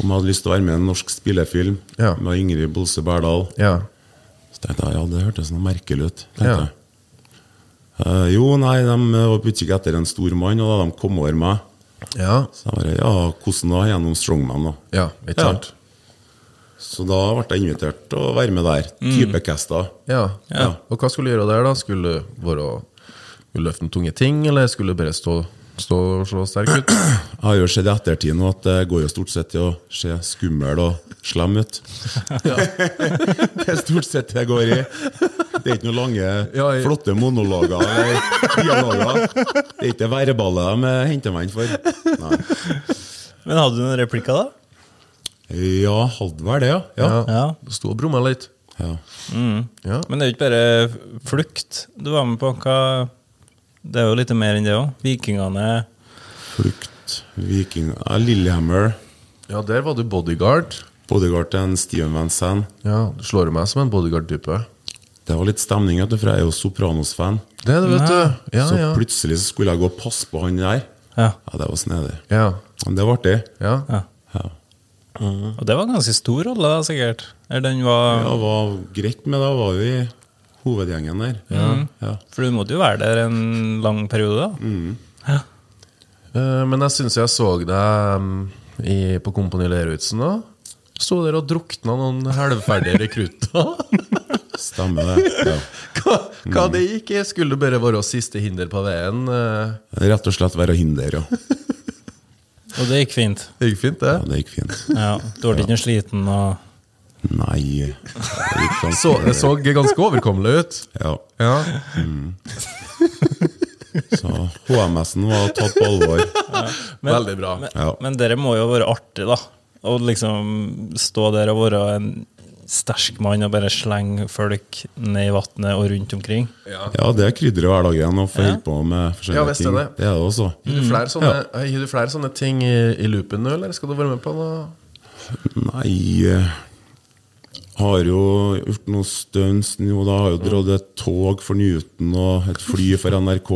[SPEAKER 2] om jeg hadde lyst til å være med i en norsk spillefilm
[SPEAKER 3] Ja.
[SPEAKER 2] med Ingrid Bolse Berdal.
[SPEAKER 3] ja,
[SPEAKER 2] Så tenkte jeg, ja, det hørtes noe merkelig ut. tenkte
[SPEAKER 3] Ja.
[SPEAKER 2] jeg. Eh, jo, nei, de var på utkikk etter en stor mann, og da de kom over meg,
[SPEAKER 3] ja.
[SPEAKER 2] så jeg bare, ja, hvordan da, gjennom Strongman da?
[SPEAKER 3] Ja, ikke sant?
[SPEAKER 2] Så da ble jeg invitert til å være med der,
[SPEAKER 3] Mm.
[SPEAKER 2] typecasta.
[SPEAKER 3] Ja.
[SPEAKER 4] Ja.
[SPEAKER 3] Og hva skulle du gjøre der, da? Skulle du være å- skulle du løfte noen tunge ting, eller skulle du bare stå, stå og se sterk ut?
[SPEAKER 2] Jeg har jo sett i ettertid nå at det går jo stort sett til å se skummel og slem ut. det er stort sett det går i. Det er ikke noen lange,
[SPEAKER 3] Ja, jeg-
[SPEAKER 2] flotte monologer eller dialoger. Det er ikke det verbale de henter meg inn for. Nei.
[SPEAKER 4] Men hadde du noen replikker, da?
[SPEAKER 2] Ja, hadde vel det, ja. ja.
[SPEAKER 4] Ja.
[SPEAKER 3] Stå og brumme litt.
[SPEAKER 2] Ja.
[SPEAKER 3] Ja.
[SPEAKER 4] Men det er jo ikke bare flukt du var med på. Hva Det er jo litt mer enn det òg. Vikingene
[SPEAKER 2] Flukt, viking ja, Lillehammer,
[SPEAKER 3] ja, der var du bodyguard.
[SPEAKER 2] bodyguard til en Steven Vansen.
[SPEAKER 3] Ja, Du slår jo meg som en bodyguard-type.
[SPEAKER 2] Det var litt stemning, vet du, for jeg er jo Sopranos-fan.
[SPEAKER 3] Det er det, vet du. Ja,
[SPEAKER 2] så
[SPEAKER 3] ja.
[SPEAKER 2] plutselig så skulle jeg gå og passe på han der.
[SPEAKER 4] Ja.
[SPEAKER 2] Ja, det var snedig.
[SPEAKER 3] Ja,
[SPEAKER 2] Men det var artig.
[SPEAKER 3] ja.
[SPEAKER 2] Ja.
[SPEAKER 4] Og det var en ganske stor rolle, da, sikkert. Eller den var
[SPEAKER 2] Det var greit, men da var vi i hovedgjengen der.
[SPEAKER 3] Mm.
[SPEAKER 2] Ja.
[SPEAKER 4] For du måtte jo være der en lang periode, da.
[SPEAKER 3] Eh, men jeg syns jeg så deg mm, i, på Kompani Lerudsen da. Sto der og drukna noen halvferdige rekrutter.
[SPEAKER 2] Stemmer det. Ja.
[SPEAKER 3] hva, hva det gikk i? Skulle det bare være siste hinder på veien? eh?
[SPEAKER 2] Rett og slett være hinder, ja.
[SPEAKER 4] Og det gikk fint.
[SPEAKER 3] Det gikk fint, det.
[SPEAKER 2] ja. Det gikk fint.
[SPEAKER 4] Ja, Du ble ikke noe sliten og
[SPEAKER 2] Nei det gikk ganske-
[SPEAKER 3] Så, det så ganske overkommelig ut.
[SPEAKER 2] Ja.
[SPEAKER 3] Ja.
[SPEAKER 2] Så HMS-en var tatt på alvor.
[SPEAKER 3] Veldig bra.
[SPEAKER 4] Men,
[SPEAKER 2] Ja.
[SPEAKER 4] men dere må jo være artig, da. Å liksom stå der og være en sterk mann og bare slenge folk ned i vannet og rundt omkring.
[SPEAKER 3] Ja.
[SPEAKER 2] Ja, det krydrer hverdagen å få holde på med forskjellige
[SPEAKER 3] Ja, visst er
[SPEAKER 2] ting.
[SPEAKER 3] det.
[SPEAKER 2] Det er det også.
[SPEAKER 3] Har du flere sånne, har du flere sånne ting i, i loopen nå, eller skal du være med på noe?
[SPEAKER 2] Nei eh, Har jo gjort noe stunts nå, da. Har jo dratt et tog for Newton og et fly for NRK.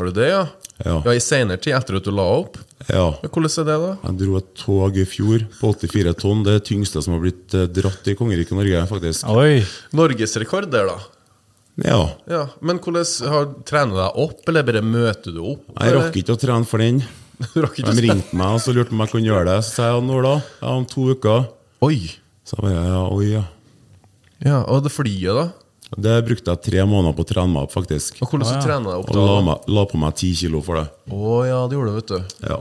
[SPEAKER 3] Har du det, ja?
[SPEAKER 2] Ja.
[SPEAKER 3] ja I senere tid, etter at du la opp?
[SPEAKER 2] Ja.
[SPEAKER 3] Men Hvordan er det, da?
[SPEAKER 2] Jeg dro et tog i fjor på 84 tonn. Det er det tyngste som har blitt eh, dratt i kongeriket Norge, faktisk.
[SPEAKER 4] Oi!
[SPEAKER 3] Norgesrekord der, da.
[SPEAKER 2] Ja.
[SPEAKER 3] Ja, Men hvordan har, trener du deg opp, eller bare møter du opp?
[SPEAKER 2] Jeg rakk ikke å trene for den.
[SPEAKER 3] Du rakk
[SPEAKER 2] De
[SPEAKER 3] ikke å
[SPEAKER 2] ringte meg og så lurte på om jeg kunne gjøre det. Så sa jeg når da? Ja, om to uker.
[SPEAKER 3] Oi!
[SPEAKER 2] Så jeg bare ja, oi, ja.
[SPEAKER 3] Ja, Og det flyet, da?
[SPEAKER 2] Det brukte jeg tre måneder på å trene meg opp, faktisk.
[SPEAKER 3] Og hvordan trener du deg opp
[SPEAKER 2] Og
[SPEAKER 3] da?
[SPEAKER 2] la,
[SPEAKER 3] da?
[SPEAKER 2] meg, la på meg ti kilo for det.
[SPEAKER 3] Å ja, det gjorde du, vet du.
[SPEAKER 2] Ja.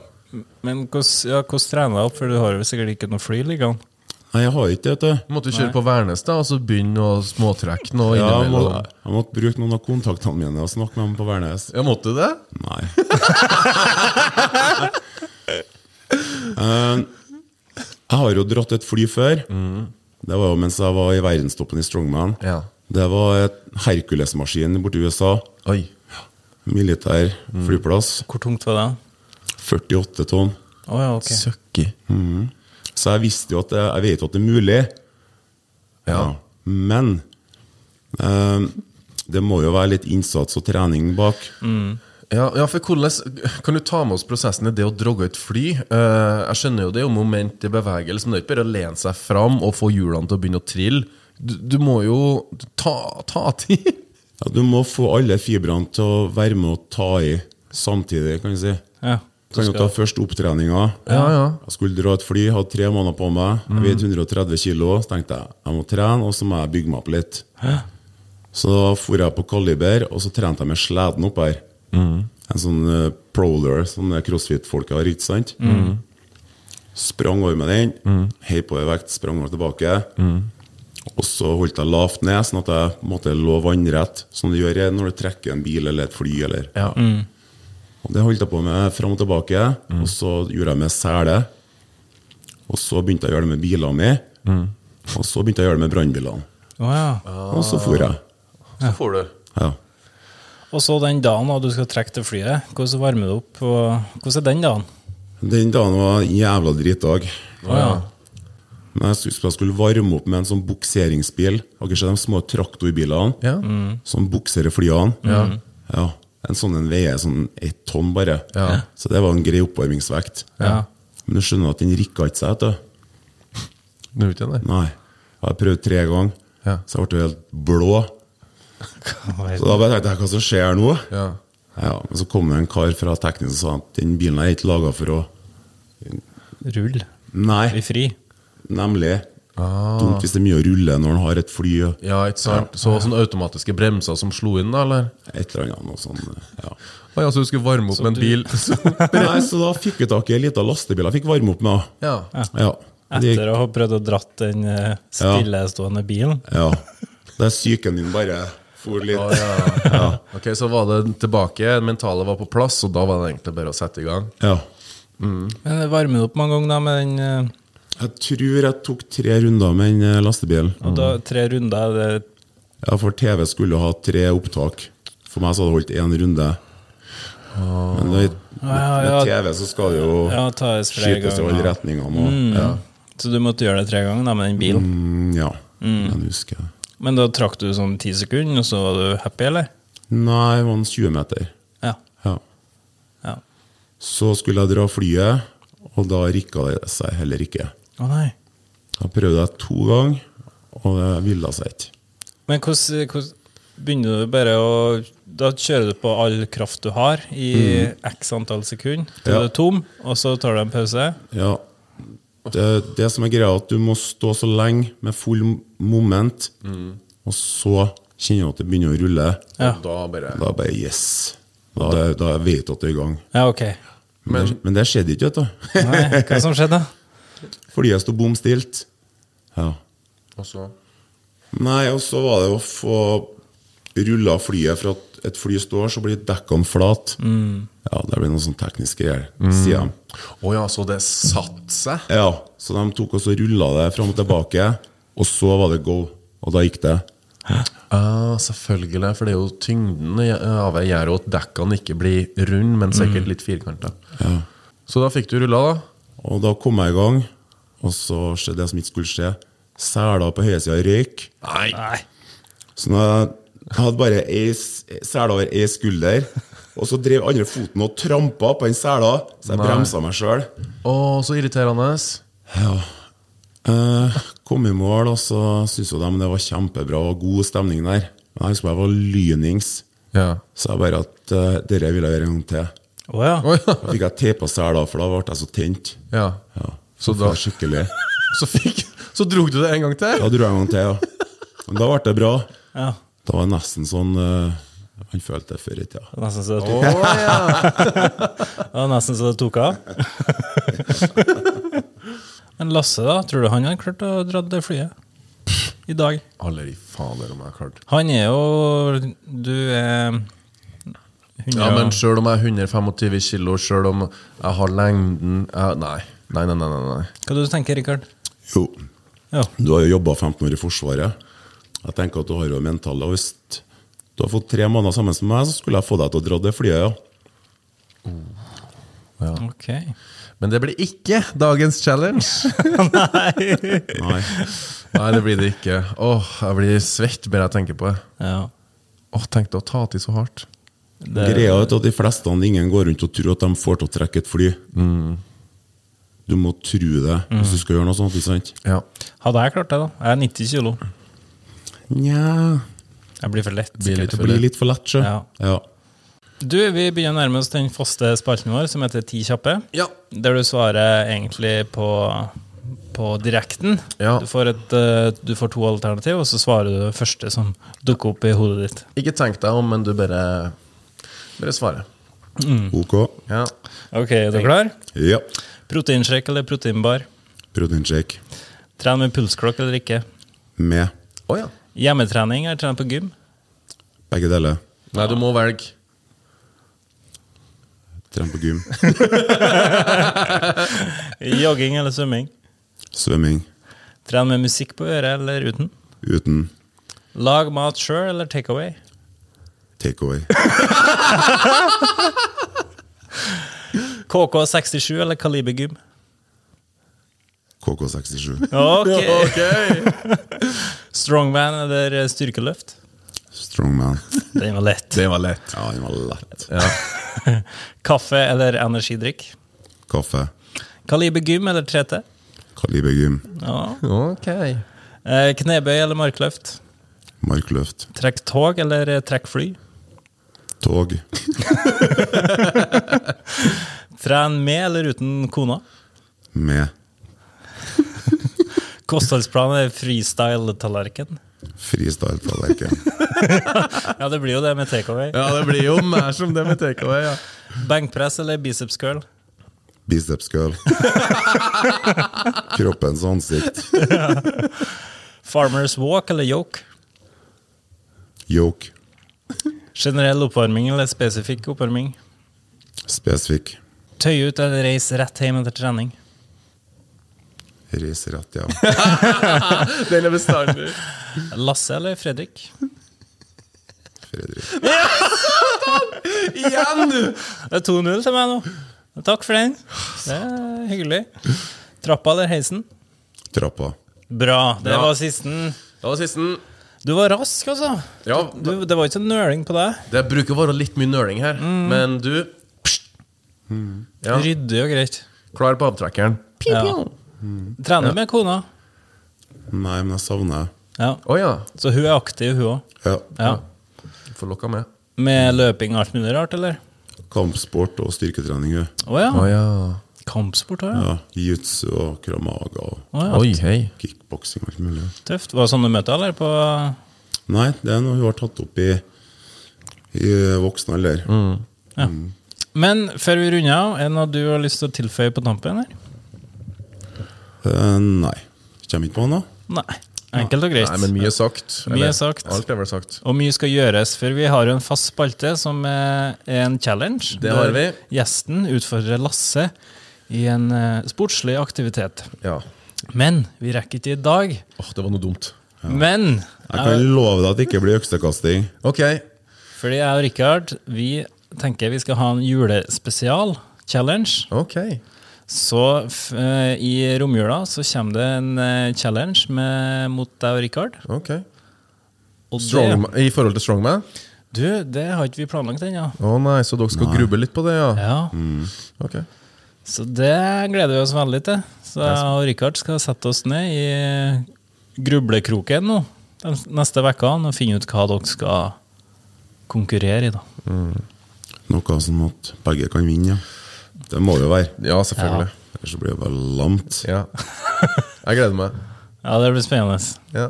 [SPEAKER 4] Men hvordan ja, hvordan trener jeg opp, for du har jo sikkert ikke noe fly liggende?
[SPEAKER 2] Nei, jeg har ikke det, vet du.
[SPEAKER 3] Du måtte jo kjøre på Værnes, da, og så begynne å småtrekke noe
[SPEAKER 2] Ja, jeg, må,
[SPEAKER 3] innimellom.
[SPEAKER 2] jeg måtte bruke noen av kontaktene mine og snakke med dem på Værnes.
[SPEAKER 3] Ja, måtte du det?
[SPEAKER 2] Nei. Eh, jeg har jo dratt et fly før. Det var jo mens jeg var i verdenstoppen i Strongman.
[SPEAKER 3] Mm. Ja.
[SPEAKER 2] Det var et Hercules-maskin borte i USA.
[SPEAKER 3] Oi. Mm.
[SPEAKER 2] Militær flyplass.
[SPEAKER 4] Hvor tungt var det?
[SPEAKER 2] 48 tonn.
[SPEAKER 4] Å ja, ok.
[SPEAKER 3] Søkki.
[SPEAKER 2] Så jeg visste jo at det, jeg vet jo at det er mulig.
[SPEAKER 3] Ja.
[SPEAKER 2] Men eh, det må jo være litt innsats og trening bak.
[SPEAKER 3] Mm. Ja, ja, for hvordan Kan du ta med oss prosessen i det å drogge et fly? Eh, jeg skjønner jo det er jo moment i bevegelse, men det er ikke bare å lene seg fram og få hjulene til å begynne å trille. Du, du må jo ta, ta tid.
[SPEAKER 2] Ja, du må få alle fibrene til å være med og ta i samtidig, kan du si.
[SPEAKER 4] Ja.
[SPEAKER 2] Kan jo ta først opptreninga.
[SPEAKER 3] Ja, ja. Mm.
[SPEAKER 2] Jeg skulle dra et fly, hadde tre måneder på meg. Jeg veide 130 kilo. Så tenkte jeg jeg må trene, og så må jeg bygge meg opp litt. Så da for jeg på Kaliber, og så trente jeg med sleden opp her.
[SPEAKER 3] Mm.
[SPEAKER 2] En sånn eh, prowler som det crossfit-folk har, ikke sant?
[SPEAKER 3] Mm.
[SPEAKER 2] Sprang over med den, hei på ei vekt, sprang over tilbake.
[SPEAKER 3] Mm.
[SPEAKER 2] Og så holdt jeg lavt ned, sånn at jeg på en måte, lå vannrett, som du gjør når du trekker en bil eller et fly. eller...
[SPEAKER 3] Ja.
[SPEAKER 2] Og Det holdt jeg på med fram og tilbake. Og så gjorde jeg med sele. Og så begynte jeg å gjøre det med bilene mine. Og så begynte jeg å gjøre det med brannbilene.
[SPEAKER 4] Å ja.
[SPEAKER 2] Og så for jeg.
[SPEAKER 3] Så får du.
[SPEAKER 2] Ja.
[SPEAKER 4] Og så den dagen da du skal trekke til flyet, hvordan varmer du opp? Og hvordan er den dagen?
[SPEAKER 2] Den dagen var en jævla dritdag.
[SPEAKER 4] Å ja.
[SPEAKER 2] Men jeg husker jeg skulle varme opp med en sånn bukseringsbil. Har dere sett de små traktorbilene
[SPEAKER 3] Ja.
[SPEAKER 2] som bukserer flyene? Ja. En sånn en veier sånn ett tonn bare.
[SPEAKER 3] Ja.
[SPEAKER 2] Så det var en grei oppvarmingsvekt.
[SPEAKER 4] ja.
[SPEAKER 2] Men du skjønner at den rikka ikke seg, vet du.
[SPEAKER 3] Nå vet jeg det.
[SPEAKER 2] Nei. Jeg har prøvd tre ganger,
[SPEAKER 3] Ja.
[SPEAKER 2] så jeg ble jo helt blå. Så da bare tenkte jeg hva som skjer nå?
[SPEAKER 3] Ja.
[SPEAKER 2] Ja, men Så kom det en kar fra teknisk og sa at den bilen er ikke laga for å
[SPEAKER 4] Rull.
[SPEAKER 2] Nei,
[SPEAKER 4] I fri.
[SPEAKER 2] nemlig.
[SPEAKER 3] Ah.
[SPEAKER 2] Dumt hvis det er mye å rulle når en har et fly og
[SPEAKER 3] ja, ikke sant? Så sånne automatiske bremser som slo inn, da, eller?
[SPEAKER 2] et eller annet. Noe sånt, ja.
[SPEAKER 3] Å ja, så altså, du skulle varme opp med en bil? Så,
[SPEAKER 2] Nei, så da fikk vi tak i ei lita lastebil jeg fikk varme opp med.
[SPEAKER 3] ja.
[SPEAKER 2] Ja. Det gikk-
[SPEAKER 4] Etter å ha prøvd å dratt den eh, stillestående bilen.
[SPEAKER 2] ja. Der psyken min bare for litt.
[SPEAKER 3] Å, Ah, ja. Ok, så var det tilbake, mentalet var på plass, og da var det egentlig bare å sette i gang.
[SPEAKER 2] Ja.
[SPEAKER 4] Men det varmer du opp mange ganger da med den eh,
[SPEAKER 2] Jeg tror jeg tok tre runder med den eh, lastebilen.
[SPEAKER 4] Og da tre runder er det
[SPEAKER 2] Ja, for TV skulle ha tre opptak. For meg så hadde det holdt én runde. Men da, med
[SPEAKER 4] ja.
[SPEAKER 2] TV så skal det jo
[SPEAKER 4] Ja, tas flere
[SPEAKER 2] skytes i alle
[SPEAKER 4] ganger.
[SPEAKER 2] retningene. Og,
[SPEAKER 4] Mm.
[SPEAKER 2] ja.
[SPEAKER 4] Så du måtte gjøre det tre ganger da med den bilen.
[SPEAKER 2] Mm, ja. Jeg husker det.
[SPEAKER 4] Men da trakk du sånn ti sekunder, og så var du happy, eller?
[SPEAKER 2] Nei, det var en 20 meter.
[SPEAKER 4] Ja.
[SPEAKER 2] Ja.
[SPEAKER 4] ja.
[SPEAKER 2] Så skulle jeg dra flyet, og da rikka det seg heller ikke.
[SPEAKER 4] Å nei.
[SPEAKER 2] Da prøvde jeg to ganger, og det ville seg ikke.
[SPEAKER 4] Men hvordan, hvordan begynner du bare å Da kjører du på all kraft du har i x antall sekunder til
[SPEAKER 2] Ja.
[SPEAKER 4] du er tom, og så tar du en pause.
[SPEAKER 2] Ja. Det, det som er greia, er at du må stå så lenge med full moment, og så kjenner du at det begynner å rulle.
[SPEAKER 4] Ja.
[SPEAKER 3] Og da bare
[SPEAKER 2] Da bare yes. Da, da vet jeg at det er i gang.
[SPEAKER 4] Ja, OK.
[SPEAKER 2] Men, det- men det skjedde ikke, vet
[SPEAKER 4] Nei, hva som skjedde?
[SPEAKER 2] du. Fordi jeg sto bom stilt. Ja.
[SPEAKER 3] Og så
[SPEAKER 2] Nei, og så var det å få rulla flyet for at et fly står, så blir dekkene flate.
[SPEAKER 4] Mm.
[SPEAKER 2] Ja, det blir noen sånn tekniske greier, sier de.
[SPEAKER 3] Å ja, så det satt seg?
[SPEAKER 2] Ja, så de tok og så rulla det fram og tilbake, og så var det go. Og da gikk det.
[SPEAKER 3] Ah, selvfølgelig, for det er jo tyngden i- av det gjør jo at dekkene ikke blir runde, men sikkert litt firkanta. Så da fikk du rulla, da?
[SPEAKER 2] Og da kom jeg i gang, og så skjedde det som ikke skulle skje. Sela på høyresida røyk.
[SPEAKER 3] Nei!
[SPEAKER 4] Nei.
[SPEAKER 2] Så når jeg jeg hadde bare ei s- sele over ei skulder, og så drev andre foten og trampa på den sela, så jeg bremsa meg sjøl.
[SPEAKER 3] Å, så irriterende.
[SPEAKER 2] Ja. Eh, kom i mål, og så syntes jo de det var kjempebra og god stemning der. Men jeg husker jeg var lynings,
[SPEAKER 3] Ja.
[SPEAKER 2] så jeg bare at uh, dette vil jeg gjøre en gang til.
[SPEAKER 4] Å ja.
[SPEAKER 3] Å ja.
[SPEAKER 2] Da fikk jeg teipa sela, for da ble jeg så tent.
[SPEAKER 3] ja.
[SPEAKER 2] Ja.
[SPEAKER 3] Så
[SPEAKER 2] Det
[SPEAKER 3] da
[SPEAKER 2] var skikkelig.
[SPEAKER 3] så, fikk, så drog du det en gang til?
[SPEAKER 2] Da dro jeg en gang til, ja. Men da ble det bra.
[SPEAKER 4] ja.
[SPEAKER 2] Da var det nesten sånn eh, Han følte det før i tida.
[SPEAKER 4] Det var nesten så det
[SPEAKER 3] Å
[SPEAKER 4] tok,
[SPEAKER 3] ja.
[SPEAKER 4] det var nesten så det tok av. Men Lasse, da? Tror du han hadde klart å dra det flyet i dag?
[SPEAKER 3] Aller i fader om jeg har klart
[SPEAKER 4] Han er jo Du er 100
[SPEAKER 3] Ja, men sjøl om jeg er 125 kilo, sjøl om jeg har lengden jeg, nei. Nei, nei, nei, nei, nei.
[SPEAKER 4] Hva du tenker du, Rikard?
[SPEAKER 2] Jo,
[SPEAKER 4] Ja.
[SPEAKER 2] du har jo jobba 15 år i Forsvaret. Jeg tenker at du har jo mentale og hvis du har fått tre måneder sammen med meg, så skulle jeg få deg til å dra det flyet, ja.
[SPEAKER 4] Ok.
[SPEAKER 3] Men det blir ikke dagens challenge.
[SPEAKER 2] Nei.
[SPEAKER 3] Nei, det blir det ikke. Åh, jeg blir svett bare jeg tenker på det.
[SPEAKER 4] Ja.
[SPEAKER 3] Åh, Tenk deg å ta til så hardt.
[SPEAKER 4] Det,
[SPEAKER 2] Greia er at de fleste ingen går rundt og tror at de får til å trekke et fly. Du må tro det hvis du skal gjøre noe sånt. ikke sant?
[SPEAKER 3] Ja.
[SPEAKER 4] Hadde jeg klart det, da? Jeg er 90 kilo.
[SPEAKER 2] Nja
[SPEAKER 4] Jeg blir for lett.
[SPEAKER 3] Blir litt
[SPEAKER 2] Det blir litt for lett, sjø.
[SPEAKER 4] Ja.
[SPEAKER 2] Ja.
[SPEAKER 4] Du, vi begynner å nærme oss den faste spalten vår, som heter Ti kjappe.
[SPEAKER 3] Ja.
[SPEAKER 4] Der du svarer egentlig på, på direkten.
[SPEAKER 3] Ja.
[SPEAKER 4] Du, får et, eh, du får to alternativ, og så svarer du det første som dukker opp i hodet ditt.
[SPEAKER 3] Ikke tenk deg om, men du bare, bare svarer.
[SPEAKER 2] Ok.
[SPEAKER 3] Ja.
[SPEAKER 4] Ok, er du klar?
[SPEAKER 2] Ja.
[SPEAKER 4] Proteinshake eller proteinbar?
[SPEAKER 2] Proteinshake
[SPEAKER 4] Tren med pulsklokk eller ikke?
[SPEAKER 2] med
[SPEAKER 3] Å ja.
[SPEAKER 4] Hjemmetrening eller trene på gym?
[SPEAKER 2] begge deler.
[SPEAKER 3] Nei, du må velge.
[SPEAKER 2] Trene på gym,
[SPEAKER 4] Jogging eller svømming?
[SPEAKER 2] svømming,
[SPEAKER 4] Tren med musikk på øret eller uten?
[SPEAKER 2] uten
[SPEAKER 4] Lag mat sjøl eller takeaway?
[SPEAKER 2] takeaway.
[SPEAKER 4] KK67 eller Kaliber gym?
[SPEAKER 2] KK67.
[SPEAKER 4] Ok!
[SPEAKER 3] Ok!
[SPEAKER 4] Strongman eller styrkeløft?
[SPEAKER 2] Strongman.
[SPEAKER 4] Den var lett.
[SPEAKER 3] Det var lett.
[SPEAKER 2] Ja, den var lett.
[SPEAKER 3] Ja.
[SPEAKER 4] Kaffe eller energidrikk?
[SPEAKER 2] Kaffe.
[SPEAKER 4] Kaliber gym eller 3T?
[SPEAKER 2] Kaliber gym.
[SPEAKER 4] Ja.
[SPEAKER 3] Ok.
[SPEAKER 4] Eh, Knebøy eller markløft?
[SPEAKER 2] Markløft.
[SPEAKER 4] Trekk tog eller eh, trekk fly?
[SPEAKER 2] Tog.
[SPEAKER 4] Tren med eller uten kona?
[SPEAKER 2] Med
[SPEAKER 4] Kostholdsplan eller freestyle-tallerken?
[SPEAKER 2] freestyle-tallerken.
[SPEAKER 4] Ja, det blir jo det med takeaway.
[SPEAKER 3] Ja, det blir jo mer som det med takeaway. Ja.
[SPEAKER 4] Benkpress eller biceps curl?
[SPEAKER 2] Biceps curl. Kroppens ansikt.
[SPEAKER 4] Farmers walk eller yoke?
[SPEAKER 2] Yoke.
[SPEAKER 4] Generell oppvarming eller spesifikk oppvarming?
[SPEAKER 2] Spesifikk.
[SPEAKER 4] Tøye ut eller reise rett hjem etter trening?
[SPEAKER 2] Reis rett hjem.
[SPEAKER 3] Den er bestandig.
[SPEAKER 4] Lasse eller Fredrik?
[SPEAKER 2] Fredrik.
[SPEAKER 3] Igjen, du!
[SPEAKER 4] Det er 2-0 til meg nå. Takk for den. Det er hyggelig. Trappa eller heisen?
[SPEAKER 2] Trappa.
[SPEAKER 4] Bra. Det
[SPEAKER 3] Bra.
[SPEAKER 4] var sisten.
[SPEAKER 3] Det var sisten.
[SPEAKER 4] Du var rask, altså.
[SPEAKER 3] Ja,
[SPEAKER 4] Du, det var ikke så nøling på deg.
[SPEAKER 3] det bruker å være litt mye nøling her, men du Ja.
[SPEAKER 4] Ryddig og greit.
[SPEAKER 3] Klar på avtrekkeren. Å
[SPEAKER 4] Ja. Trener med kona.
[SPEAKER 2] Nei, men jeg savner
[SPEAKER 4] Ja.
[SPEAKER 3] ja.
[SPEAKER 4] Så hun er aktiv, hun òg.
[SPEAKER 2] ja.
[SPEAKER 4] Ja.
[SPEAKER 3] Du får lokka med.
[SPEAKER 4] Med løping og alt mulig rart, eller?
[SPEAKER 2] kampsport og styrketrening. jo.
[SPEAKER 4] Å ja.
[SPEAKER 3] ja.
[SPEAKER 4] Kampsport òg, ja.
[SPEAKER 2] Ja, Jiu-jitsu og kramaga og
[SPEAKER 4] Å, ja.
[SPEAKER 3] Oi, hei.
[SPEAKER 2] kickboksing og alt mulig.
[SPEAKER 4] Tøft. Var det sånn du møtte henne, eller? På
[SPEAKER 2] Nei, det er noe hun har tatt opp i, i voksen alder.
[SPEAKER 4] ja. Men før vi runder av, er det noe du har lyst til å tilføye på tampen? Eller?
[SPEAKER 2] Eh, nei. Kommer ikke på noe.
[SPEAKER 4] Nei. Enkelt og greit.
[SPEAKER 3] Nei, men mye sagt.
[SPEAKER 4] Mye sagt.
[SPEAKER 3] Alt er vel sagt.
[SPEAKER 4] Og mye skal gjøres, for vi har jo en fast spalte som eh, er en challenge.
[SPEAKER 3] Det har vi.
[SPEAKER 4] Gjesten utfordrer Lasse i en eh, sportslig aktivitet.
[SPEAKER 3] Ja.
[SPEAKER 4] Men vi rekker ikke i dag.
[SPEAKER 3] Åh, det var noe dumt.
[SPEAKER 4] Men eh,
[SPEAKER 2] Jeg kan love deg at det ikke blir øksekasting.
[SPEAKER 3] Ok.
[SPEAKER 4] fordi jeg og Rikard vi tenker vi skal ha en julespesial-challenge.
[SPEAKER 3] Ok.
[SPEAKER 4] Så f eh, i romjula så kommer det en eh, challenge med, mot deg og Rikard.
[SPEAKER 3] Ok.
[SPEAKER 4] Og det,
[SPEAKER 3] Strongman, I forhold til Strongman?
[SPEAKER 4] du, det har ikke vi planlagt ennå.
[SPEAKER 3] Å nei, så dere skal grubbe litt på det, ja?
[SPEAKER 4] Ja.
[SPEAKER 3] Ok.
[SPEAKER 4] Så det gleder vi oss veldig til. Så jeg og Rikard skal sette oss ned i grublekroken nå de neste vekkene og finne ut hva dere skal konkurrere i. da.
[SPEAKER 2] Noe sånn at begge kan vinne. Ja. Det må jo være.
[SPEAKER 3] Ja, selvfølgelig.
[SPEAKER 2] Ellers så blir det bare lamt.
[SPEAKER 3] Ja. Jeg gleder meg.
[SPEAKER 4] Ja, Det blir spennende.
[SPEAKER 3] Ja.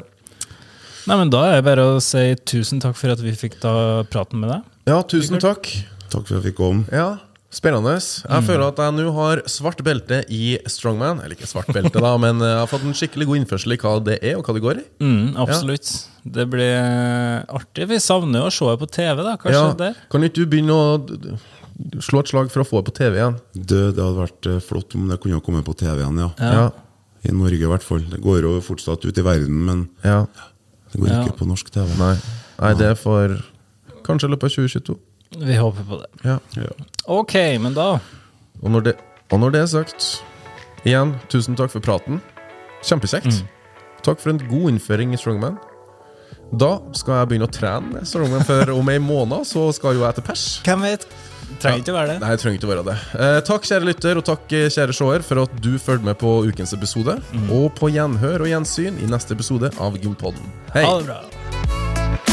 [SPEAKER 4] Nei, men Da er det bare å si tusen takk for at vi fikk ta praten med deg.
[SPEAKER 3] ja, tusen takk.
[SPEAKER 2] Takk for at jeg fikk komme.
[SPEAKER 3] Ja, Spennende.
[SPEAKER 4] Mm.
[SPEAKER 3] Jeg føler at jeg nå har svart belte i Strongman. Eller ikke svart belte, da, men eh, jeg har fått en skikkelig god innførsel i hva det er, og hva det går i.
[SPEAKER 4] Mm, absolutt. Det blir eh, artig. Vi savner jo å se det på TV, da. Kanskje
[SPEAKER 3] Ja,
[SPEAKER 4] der.
[SPEAKER 3] Kan ikke du begynne å d- d- slå et slag for å få det på TV igjen?
[SPEAKER 2] Det, det hadde vært eh, flott om det kunne ha kommet på TV-en, ja.
[SPEAKER 3] Ja.
[SPEAKER 2] I Norge i hvert fall. Det går jo fortsatt ut i verden, men
[SPEAKER 3] ja.
[SPEAKER 2] det går
[SPEAKER 4] Ja.
[SPEAKER 2] ikke på norsk TV.
[SPEAKER 3] Nei. Nei, det er for kanskje i løpet av 2022.
[SPEAKER 4] Vi håper på det.
[SPEAKER 3] Ja.
[SPEAKER 2] Ja.
[SPEAKER 4] Ok, men da
[SPEAKER 3] Og når det, og når det er sagt, igjen, tusen takk for praten. Kjempekjekt.
[SPEAKER 4] Mm.
[SPEAKER 3] Takk for en god innføring i Strongman. Da skal jeg begynne å trene Strongman, for om ei måned så skal jo jeg til pers.
[SPEAKER 4] Hvem vet? Trenger ikke å være det.
[SPEAKER 3] Nei, jeg trenger ikke å være det. Eh, takk, kjære lytter, og takk, eh, kjære seer, for at du fulgte med på ukens episode.
[SPEAKER 4] Mm.
[SPEAKER 3] Og på gjenhør og gjensyn i neste episode av Gympodden. Hei!
[SPEAKER 4] Ha det bra.